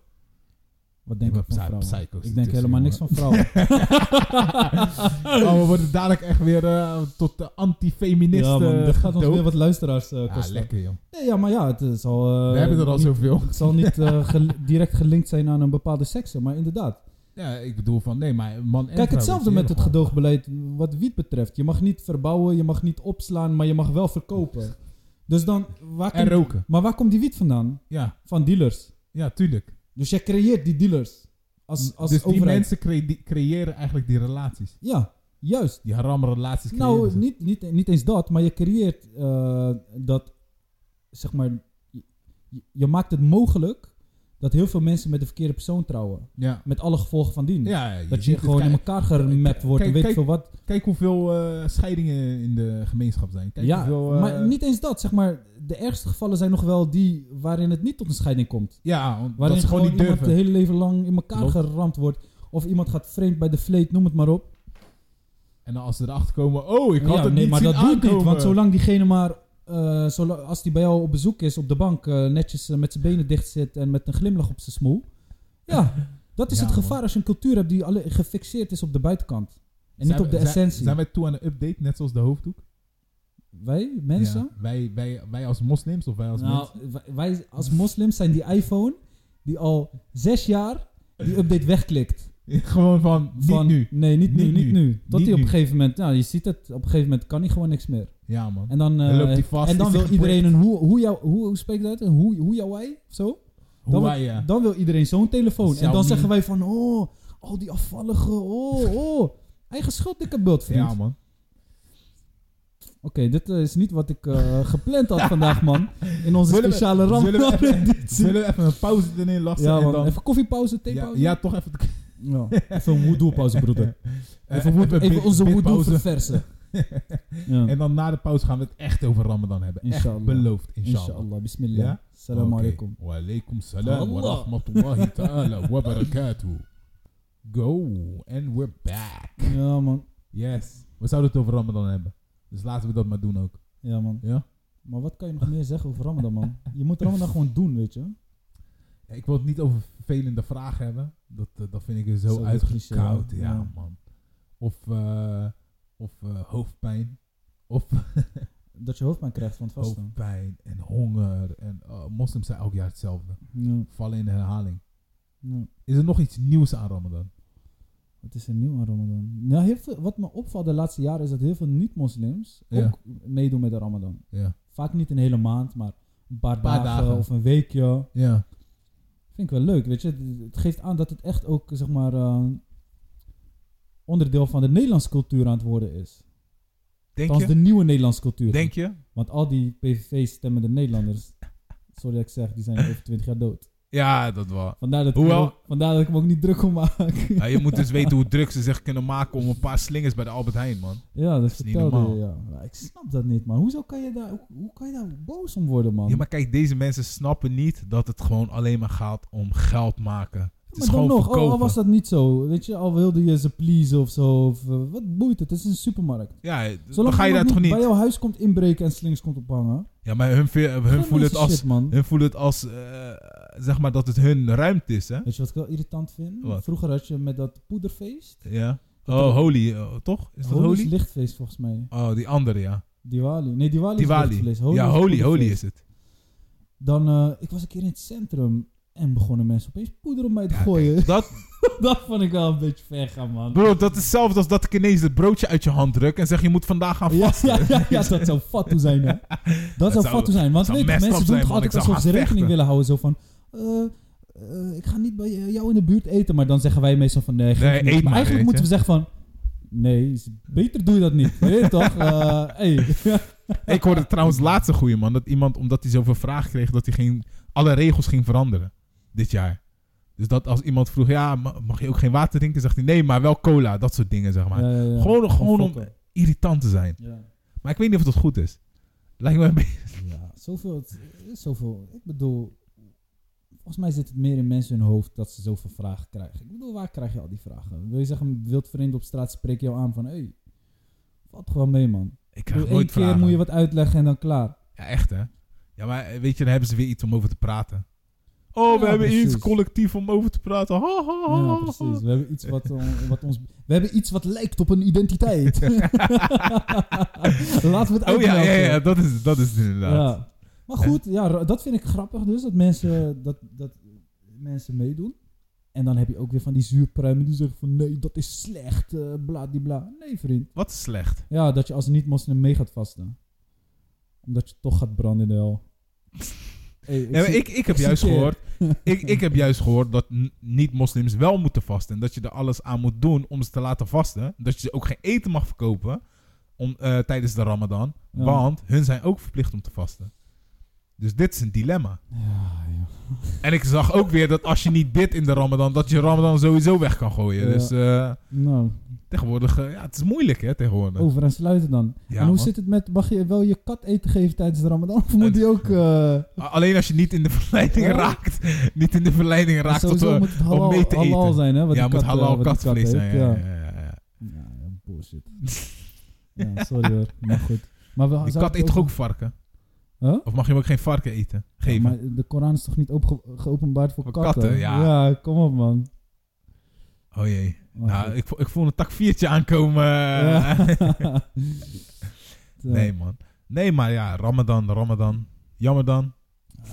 [SPEAKER 3] Wat denk
[SPEAKER 1] Je
[SPEAKER 3] ik
[SPEAKER 1] hebt
[SPEAKER 3] van
[SPEAKER 1] psy-
[SPEAKER 3] vrouwen?
[SPEAKER 1] psycho's
[SPEAKER 3] Ik denk
[SPEAKER 1] ertussen,
[SPEAKER 3] helemaal niks van vrouwen.
[SPEAKER 1] <laughs>
[SPEAKER 3] <laughs>
[SPEAKER 1] Oh, we worden dadelijk echt weer eh, tot de anti-feministen.
[SPEAKER 3] ja man, er eh, gaat ons
[SPEAKER 1] gedoopt.
[SPEAKER 3] weer wat luisteraars eh,
[SPEAKER 1] Ja,
[SPEAKER 3] kosten.
[SPEAKER 1] lekker, joh.
[SPEAKER 3] Nee, ja, maar ja, het eh, zal... eh,
[SPEAKER 1] we hebben er al
[SPEAKER 3] niet-
[SPEAKER 1] zoveel.
[SPEAKER 3] Het zal niet eh, gel- direct gelinkt zijn aan een bepaalde sekse, maar inderdaad.
[SPEAKER 1] Ja, ik bedoel van, nee, maar man en
[SPEAKER 3] Kijk,
[SPEAKER 1] vrouw,
[SPEAKER 3] hetzelfde
[SPEAKER 1] weet je,
[SPEAKER 3] met het
[SPEAKER 1] gewoon.
[SPEAKER 3] gedoogbeleid wat wiet betreft. Je mag niet verbouwen, je mag niet opslaan, maar je mag wel verkopen. Dus dan, waar
[SPEAKER 1] En
[SPEAKER 3] komt,
[SPEAKER 1] roken.
[SPEAKER 3] maar waar komt die wiet vandaan?
[SPEAKER 1] Ja,
[SPEAKER 3] Van dealers.
[SPEAKER 1] ja, tuurlijk.
[SPEAKER 3] Dus jij creëert die dealers. Als, als
[SPEAKER 1] dus die
[SPEAKER 3] overheid.
[SPEAKER 1] mensen cre- die creëren eigenlijk die relaties.
[SPEAKER 3] Ja, juist.
[SPEAKER 1] Die haramrelaties creëren
[SPEAKER 3] Nou,
[SPEAKER 1] ze.
[SPEAKER 3] niet, niet, niet eens dat, maar je creëert eh, dat, zeg maar, je, je maakt het mogelijk dat heel veel mensen met de verkeerde persoon trouwen.
[SPEAKER 1] Ja.
[SPEAKER 3] Met alle gevolgen van dien.
[SPEAKER 1] ja je
[SPEAKER 3] dat
[SPEAKER 1] ziet
[SPEAKER 3] je
[SPEAKER 1] het.
[SPEAKER 3] gewoon in
[SPEAKER 1] Kijk-
[SPEAKER 3] elkaar geremapt wordt
[SPEAKER 1] Kijk,
[SPEAKER 3] en weet ik
[SPEAKER 1] kijk,
[SPEAKER 3] veel wat.
[SPEAKER 1] Kijk hoeveel eh, scheidingen in de gemeenschap zijn. Kijk
[SPEAKER 3] ja,
[SPEAKER 1] hoeveel, eh,
[SPEAKER 3] maar niet eens dat, zeg maar. De ergste gevallen zijn nog wel die waarin het niet tot een scheiding komt.
[SPEAKER 1] Ja, want dat
[SPEAKER 3] Waarin
[SPEAKER 1] ze gewoon niet
[SPEAKER 3] iemand het
[SPEAKER 1] durven.
[SPEAKER 3] hele leven lang in elkaar
[SPEAKER 1] Klopt.
[SPEAKER 3] geramd wordt. Of iemand gaat vreemd bij de vleet, noem het maar op.
[SPEAKER 1] En dan als ze erachter komen, oh, ik had
[SPEAKER 3] ja,
[SPEAKER 1] het
[SPEAKER 3] nee,
[SPEAKER 1] niet
[SPEAKER 3] maar
[SPEAKER 1] zien
[SPEAKER 3] dat doe ik niet.
[SPEAKER 1] aankomen.
[SPEAKER 3] Want zolang diegene maar, eh, zola- als die bij jou op bezoek is op de bank, eh, netjes eh, met zijn benen dicht zit en met een glimlach op zijn smoel.
[SPEAKER 1] <laughs>
[SPEAKER 3] Ja, dat is
[SPEAKER 1] Ja,
[SPEAKER 3] het
[SPEAKER 1] man.
[SPEAKER 3] gevaar als je een cultuur hebt die alle, gefixeerd is op de buitenkant. En
[SPEAKER 1] Zijn
[SPEAKER 3] niet
[SPEAKER 1] we-
[SPEAKER 3] op de
[SPEAKER 1] zijn-
[SPEAKER 3] essentie.
[SPEAKER 1] Zijn wij toe aan een update, net zoals de hoofddoek?
[SPEAKER 3] Wij, mensen,
[SPEAKER 1] Ja, wij, wij, wij als moslims of wij als
[SPEAKER 3] nou,
[SPEAKER 1] mensen.
[SPEAKER 3] wij- wij als moslims zijn die iPhone die al zes jaar
[SPEAKER 1] <laughs>
[SPEAKER 3] die update wegklikt.
[SPEAKER 1] Gewoon van,
[SPEAKER 3] Van,
[SPEAKER 1] niet nu.
[SPEAKER 3] Nee, niet, nu,
[SPEAKER 1] Niet
[SPEAKER 3] niet
[SPEAKER 1] nu.
[SPEAKER 3] nu. Tot
[SPEAKER 1] Niet
[SPEAKER 3] die op een
[SPEAKER 1] nu.
[SPEAKER 3] gegeven moment, nou je ziet het, op een gegeven moment kan hij gewoon niks meer.
[SPEAKER 1] Ja, man.
[SPEAKER 3] En dan, eh,
[SPEAKER 1] Dan loopt hij vast,
[SPEAKER 3] en dan
[SPEAKER 1] is
[SPEAKER 3] wil
[SPEAKER 1] hij geprikt.
[SPEAKER 3] iedereen een hoe, hoe, jou, hoe, hoe spreek je dat uit? Een hoe, hoe Huawei of zo?
[SPEAKER 1] Hoe
[SPEAKER 3] Dan, wil-
[SPEAKER 1] wij, eh, ja.
[SPEAKER 3] dan wil iedereen zo'n telefoon. En dan
[SPEAKER 1] Xiaomi.
[SPEAKER 3] zeggen wij van, oh, al die afvallige, oh, oh. Eigen schuld, dikke bult, vriend.
[SPEAKER 1] Ja, man.
[SPEAKER 3] Oké, dit eh, is niet wat ik eh,
[SPEAKER 1] <laughs>
[SPEAKER 3] gepland had vandaag, man. In onze
[SPEAKER 1] Zullen we-
[SPEAKER 3] speciale
[SPEAKER 1] zullen we
[SPEAKER 3] <laughs>
[SPEAKER 1] even-
[SPEAKER 3] ramp.
[SPEAKER 1] Zullen we even een pauze erin lassen?
[SPEAKER 3] Ja,
[SPEAKER 1] en
[SPEAKER 3] man.
[SPEAKER 1] dan,
[SPEAKER 3] Even koffiepauze,
[SPEAKER 1] ja,
[SPEAKER 3] theepauze.
[SPEAKER 1] ja, toch even.
[SPEAKER 3] Ja. Even een hoedoelpauze,
[SPEAKER 1] <laughs>
[SPEAKER 3] broeder.
[SPEAKER 1] eh,
[SPEAKER 3] Even, woed-
[SPEAKER 1] even
[SPEAKER 3] even
[SPEAKER 1] bid-
[SPEAKER 3] onze hoedoel
[SPEAKER 1] bidpauze.
[SPEAKER 3] verversen. <laughs> Ja.
[SPEAKER 1] En dan na de pauze gaan we het echt over Ramadan hebben.
[SPEAKER 3] Inshallah.
[SPEAKER 1] Echt beloofd, inshallah.
[SPEAKER 3] Inshallah, bismillah.
[SPEAKER 1] Ja?
[SPEAKER 3] Salam
[SPEAKER 1] Oké.
[SPEAKER 3] alaikum.
[SPEAKER 1] Wa alaikum salam wa
[SPEAKER 3] Allah. <laughs>
[SPEAKER 1] rahmatullahi ta'ala wa barakatuh. Go, and we're back.
[SPEAKER 3] Ja, man.
[SPEAKER 1] Yes. We zouden het over Ramadan hebben. Dus laten we dat maar doen ook.
[SPEAKER 3] Ja, man.
[SPEAKER 1] Ja?
[SPEAKER 3] Maar wat kan je nog meer zeggen over Ramadan, man? Je moet Ramadan gewoon doen, weet je.
[SPEAKER 1] Ja, Ik wil het niet over vervelende vragen hebben. Dat, eh, dat vind ik er zo,
[SPEAKER 3] Zo
[SPEAKER 1] uitgekoud.
[SPEAKER 3] cliché,
[SPEAKER 1] Ja,
[SPEAKER 3] ja.
[SPEAKER 1] man. Of, eh, of eh, hoofdpijn. Of
[SPEAKER 3] Dat je hoofdpijn krijgt van het vasten.
[SPEAKER 1] hoofdpijn en honger. En eh, moslims zijn elk jaar hetzelfde.
[SPEAKER 3] Ja,
[SPEAKER 1] Vallen in herhaling.
[SPEAKER 3] ja.
[SPEAKER 1] Is er nog iets nieuws aan Ramadan?
[SPEAKER 3] Wat is er nieuw aan Ramadan? Nou, heel veel, wat me opvalt de laatste jaren is dat heel veel niet-moslims
[SPEAKER 1] Ja.
[SPEAKER 3] ook meedoen met de Ramadan.
[SPEAKER 1] Ja.
[SPEAKER 3] Vaak niet een hele maand, maar een paar,
[SPEAKER 1] Paar
[SPEAKER 3] dagen,
[SPEAKER 1] dagen.
[SPEAKER 3] of een weekje.
[SPEAKER 1] Ja.
[SPEAKER 3] Vind ik wel leuk, weet je. Het- Het geeft aan dat het echt ook, zeg maar, eh, onderdeel van de Nederlandse cultuur aan het worden is.
[SPEAKER 1] Denk
[SPEAKER 3] Althans, de nieuwe Nederlandse cultuur.
[SPEAKER 1] je?
[SPEAKER 3] Want al die PVV-stemmende Nederlanders, sorry dat ik zeg, die zijn over 20 jaar dood.
[SPEAKER 1] Ja, dat wel.
[SPEAKER 3] Vandaar dat, ik hem
[SPEAKER 1] Hoewel-
[SPEAKER 3] ook- vandaar dat ik hem ook niet druk om maak.
[SPEAKER 1] Ja, <laughs> je moet dus weten hoe druk ze zich kunnen maken om een paar slingers bij de Albert Heijn, man.
[SPEAKER 3] Ja, dat
[SPEAKER 1] is niet
[SPEAKER 3] vertelde je,
[SPEAKER 1] normaal.
[SPEAKER 3] ja. Maar ik snap dat niet, man. Hoezo kan je daar, hoe, hoe kan je daar boos om worden, man?
[SPEAKER 1] Ja, maar kijk, deze mensen snappen niet dat het gewoon alleen maar gaat om geld maken. Het
[SPEAKER 3] Maar
[SPEAKER 1] is gewoon
[SPEAKER 3] al- al
[SPEAKER 1] verkopen.
[SPEAKER 3] was dat niet zo, weet je, al wilde je ze pleasen of zo, of, eh, wat boeit het? Het is een supermarkt.
[SPEAKER 1] Ja, Dus dan
[SPEAKER 3] Zolang
[SPEAKER 1] ga je
[SPEAKER 3] iemand
[SPEAKER 1] daar toch
[SPEAKER 3] bij
[SPEAKER 1] niet...
[SPEAKER 3] jouw huis komt inbreken en slings komt ophangen.
[SPEAKER 1] Ja, maar hun, ve- hun voelen
[SPEAKER 3] geen
[SPEAKER 1] het
[SPEAKER 3] mensen
[SPEAKER 1] als...
[SPEAKER 3] shit, man.
[SPEAKER 1] Hun voelen het als... eh, zeg maar dat het hun ruimte is, hè?
[SPEAKER 3] Weet je wat ik wel irritant vind?
[SPEAKER 1] Wat?
[SPEAKER 3] Vroeger had je met dat poederfeest.
[SPEAKER 1] Ja.
[SPEAKER 3] Dat er-
[SPEAKER 1] Oh, holy, eh, toch? Is dat
[SPEAKER 3] Holy is
[SPEAKER 1] holy?
[SPEAKER 3] lichtfeest volgens mij.
[SPEAKER 1] Oh, die andere, ja.
[SPEAKER 3] Diwali. Nee, Diwali, is
[SPEAKER 1] Diwali.
[SPEAKER 3] lichtfeest. Holy
[SPEAKER 1] ja,
[SPEAKER 3] is
[SPEAKER 1] holy, holy
[SPEAKER 3] poederfeest.
[SPEAKER 1] is het.
[SPEAKER 3] Dan, eh, ik was een keer in het centrum en begonnen mensen opeens poeder op mij te
[SPEAKER 1] Ja,
[SPEAKER 3] gooien.
[SPEAKER 1] kijk, dat,
[SPEAKER 3] <laughs> dat vond ik wel een beetje ver gaan, man.
[SPEAKER 1] bro, dat is hetzelfde als dat ik ineens het broodje uit je hand druk en zeg je moet vandaag gaan
[SPEAKER 3] Ja,
[SPEAKER 1] vasten.
[SPEAKER 3] ja, ja, ja, dat zou fatu zijn,
[SPEAKER 1] <laughs>
[SPEAKER 3] hè. Dat, zou
[SPEAKER 1] zou-
[SPEAKER 3] fatu zijn. Want
[SPEAKER 1] zou
[SPEAKER 3] weet, je,
[SPEAKER 1] messed
[SPEAKER 3] mensen
[SPEAKER 1] up
[SPEAKER 3] doen
[SPEAKER 1] zijn,
[SPEAKER 3] het
[SPEAKER 1] man.
[SPEAKER 3] altijd
[SPEAKER 1] Ik zou
[SPEAKER 3] alsof
[SPEAKER 1] gaan
[SPEAKER 3] ze rekening
[SPEAKER 1] vechten.
[SPEAKER 3] willen houden. Zo van, eh, eh, ik ga niet bij eh, jou in de buurt eten. Maar dan zeggen wij meestal van, nee, geef
[SPEAKER 1] Nee,
[SPEAKER 3] niet.
[SPEAKER 1] eet maar, weet
[SPEAKER 3] eigenlijk moeten we zeggen van, nee, is- beter doe je dat niet. <laughs> Weet je toch? Eh, hey.
[SPEAKER 1] Ik hoorde trouwens laatst een goeie man. Dat iemand, omdat hij zoveel vragen kreeg, dat hij ging, alle regels ging veranderen. Dit jaar. Dus dat als iemand vroeg, ja, ma- mag je ook geen water drinken? Zegt hij, nee, maar wel cola. Dat soort dingen,
[SPEAKER 3] <laughs>
[SPEAKER 1] zeg maar.
[SPEAKER 3] Ja, ja, ja.
[SPEAKER 1] Gewoon, gewoon om
[SPEAKER 3] Eh, Fokken.
[SPEAKER 1] irritant te zijn.
[SPEAKER 3] Ja.
[SPEAKER 1] Maar ik weet niet of dat goed is. Lijkt me een beetje...
[SPEAKER 3] Ja, zoveel. Het is zoveel. Ik bedoel, volgens mij zit het meer in mensen hun hoofd dat ze zoveel vragen krijgen. Ik bedoel, waar krijg je al die vragen? Wil je zeggen, een wild vreemd op straat spreekt jou aan van, hé, hey, valt gewoon mee, man.
[SPEAKER 1] <laughs> Ik
[SPEAKER 3] Ik
[SPEAKER 1] krijg
[SPEAKER 3] bedoel, één
[SPEAKER 1] nooit
[SPEAKER 3] keer
[SPEAKER 1] vragen.
[SPEAKER 3] moet je wat uitleggen en dan klaar.
[SPEAKER 1] Ja, echt hè. Ja, maar eh, weet je, dan hebben ze weer iets om over te praten. Oh, we
[SPEAKER 3] Ja,
[SPEAKER 1] hebben iets
[SPEAKER 3] precies.
[SPEAKER 1] collectief om over te praten. Ha, ha, ha,
[SPEAKER 3] Ja,
[SPEAKER 1] ha.
[SPEAKER 3] precies. We hebben iets wat, on- wat ons... We hebben iets wat lijkt op een
[SPEAKER 1] <laughs>
[SPEAKER 3] identiteit. <laughs> Laten we het uitleggen.
[SPEAKER 1] Oh ja, ja, ja, dat is, dat is het inderdaad.
[SPEAKER 3] Ja. Maar goed, ja, ra- dat vind ik grappig dus, dat mensen, dat, dat mensen meedoen. En dan heb je ook weer van die zuurpruimen die zeggen van nee, dat is slecht, eh bla die bla. Nee, vriend.
[SPEAKER 1] Wat slecht.
[SPEAKER 3] Ja, dat je als niet-moslim mee gaat vasten. Omdat je toch gaat branden in
[SPEAKER 1] <laughs>
[SPEAKER 3] de hel. Hey, ik
[SPEAKER 1] Ja, maar
[SPEAKER 3] zie-
[SPEAKER 1] ik, ik heb
[SPEAKER 3] ik
[SPEAKER 1] juist
[SPEAKER 3] citeer. <laughs>
[SPEAKER 1] gehoord. Ik, ik heb juist gehoord dat n- niet-moslims wel moeten vasten. En dat je er alles aan moet doen om ze te laten vasten. Dat je ze ook geen eten mag verkopen om, eh, tijdens de Ramadan.
[SPEAKER 3] Ja.
[SPEAKER 1] Want hun zijn ook verplicht om te vasten. Dus dit is een dilemma.
[SPEAKER 3] Ja, ja.
[SPEAKER 1] En ik zag ook weer dat als je niet bidt in de Ramadan, dat je Ramadan sowieso weg kan gooien.
[SPEAKER 3] Ja.
[SPEAKER 1] Dus eh,
[SPEAKER 3] Nou,
[SPEAKER 1] tegenwoordig, eh, ja, het is moeilijk hè, tegenwoordig.
[SPEAKER 3] over en sluiten dan.
[SPEAKER 1] Ja,
[SPEAKER 3] en hoe
[SPEAKER 1] man.
[SPEAKER 3] zit het met, mag je wel je kat eten geven tijdens de ramadan? Of moet die ook... eh
[SPEAKER 1] A- Alleen als je niet in de verleiding
[SPEAKER 3] Ja.
[SPEAKER 1] raakt. Niet in de verleiding raakt tot
[SPEAKER 3] Oh. sowieso
[SPEAKER 1] eh,
[SPEAKER 3] moet het halal,
[SPEAKER 1] mee te
[SPEAKER 3] halal
[SPEAKER 1] eten.
[SPEAKER 3] zijn, hè? Wat
[SPEAKER 1] ja, moet
[SPEAKER 3] die kat, eh,
[SPEAKER 1] halal
[SPEAKER 3] wat die kat
[SPEAKER 1] katvlees
[SPEAKER 3] eet,
[SPEAKER 1] zijn. ja, ja, ja, ja.
[SPEAKER 3] Ja, ja,
[SPEAKER 1] <laughs>
[SPEAKER 3] bullshit. ja, sorry hoor. Maar goed. Maar we
[SPEAKER 1] Die
[SPEAKER 3] zouden
[SPEAKER 1] kat eet toch ook
[SPEAKER 3] Oh, ook-
[SPEAKER 1] varken?
[SPEAKER 3] Huh?
[SPEAKER 1] Of mag je hem ook geen varken eten? Geven? Oh,
[SPEAKER 3] Ja, maar de Koran is toch niet opge- geopenbaard voor,
[SPEAKER 1] Voor
[SPEAKER 3] katten?
[SPEAKER 1] katten, ja.
[SPEAKER 3] kom op man.
[SPEAKER 1] Oh jee.
[SPEAKER 3] Maar
[SPEAKER 1] nou,
[SPEAKER 3] goed.
[SPEAKER 1] ik, <laughs> vo- ik voel een takviertje aankomen.
[SPEAKER 3] Ja.
[SPEAKER 1] nee man. Nee, maar ja, Ramadan, Ramadan. Jammer dan.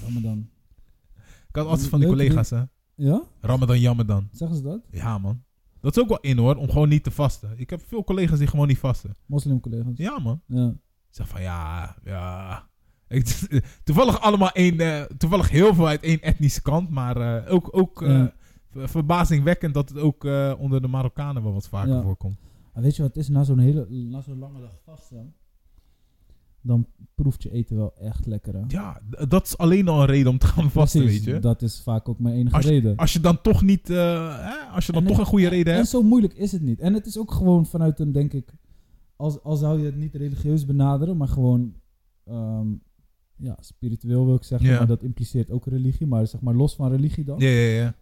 [SPEAKER 3] Ramadan.
[SPEAKER 1] Ik had altijd van die
[SPEAKER 3] Leuk,
[SPEAKER 1] collega's, hè.
[SPEAKER 3] Ja?
[SPEAKER 1] Ramadan, jammer dan.
[SPEAKER 3] Zeggen ze dat?
[SPEAKER 1] Ja, man. Dat is ook wel in, hoor, om gewoon niet te vasten. Ik heb veel collega's die gewoon niet vasten.
[SPEAKER 3] Moslimcollega's.
[SPEAKER 1] Ja, man.
[SPEAKER 3] Ja.
[SPEAKER 1] Zeg van ja, ja. Ik, <laughs> toevallig allemaal één, eh, toevallig heel veel uit één etnische kant, maar eh, ook, ook eh,
[SPEAKER 3] Ja.
[SPEAKER 1] ver- verbazingwekkend dat het ook eh, onder de Marokkanen wel wat vaker
[SPEAKER 3] Ja.
[SPEAKER 1] voorkomt.
[SPEAKER 3] Maar Ah, weet je wat het is? Na zo'n hele, na zo'n lange dag vasten, dan proeft je eten wel echt lekker, hè?
[SPEAKER 1] Ja, d- dat is alleen al een reden om te gaan vasten,
[SPEAKER 3] Precies,
[SPEAKER 1] weet je.
[SPEAKER 3] Dat is vaak ook mijn enige reden.
[SPEAKER 1] Als je dan toch niet, eh, hè, als je dan
[SPEAKER 3] En
[SPEAKER 1] toch
[SPEAKER 3] het-
[SPEAKER 1] een goede reden
[SPEAKER 3] En
[SPEAKER 1] hebt.
[SPEAKER 3] zo moeilijk is het niet. En het is ook gewoon vanuit een, denk ik, als, als zou je het niet religieus benaderen, maar gewoon ehm, ja, spiritueel wil ik zeggen,
[SPEAKER 1] Ja.
[SPEAKER 3] maar dat impliceert ook religie, maar zeg maar los van religie dan.
[SPEAKER 1] Ja, ja, ja.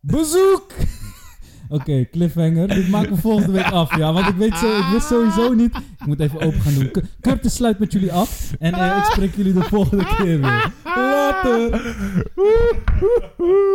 [SPEAKER 3] Bezoek! <laughs> Oké, cliffhanger. Dit maakt me volgende week af, ja. Want ik weet zo, ik wist sowieso niet... Ik moet even open gaan doen. Cu- Curtis sluit met jullie af.
[SPEAKER 1] Ah. <laughs>
[SPEAKER 3] En eh, ik spreek jullie de volgende keer weer. Later!
[SPEAKER 1] Later!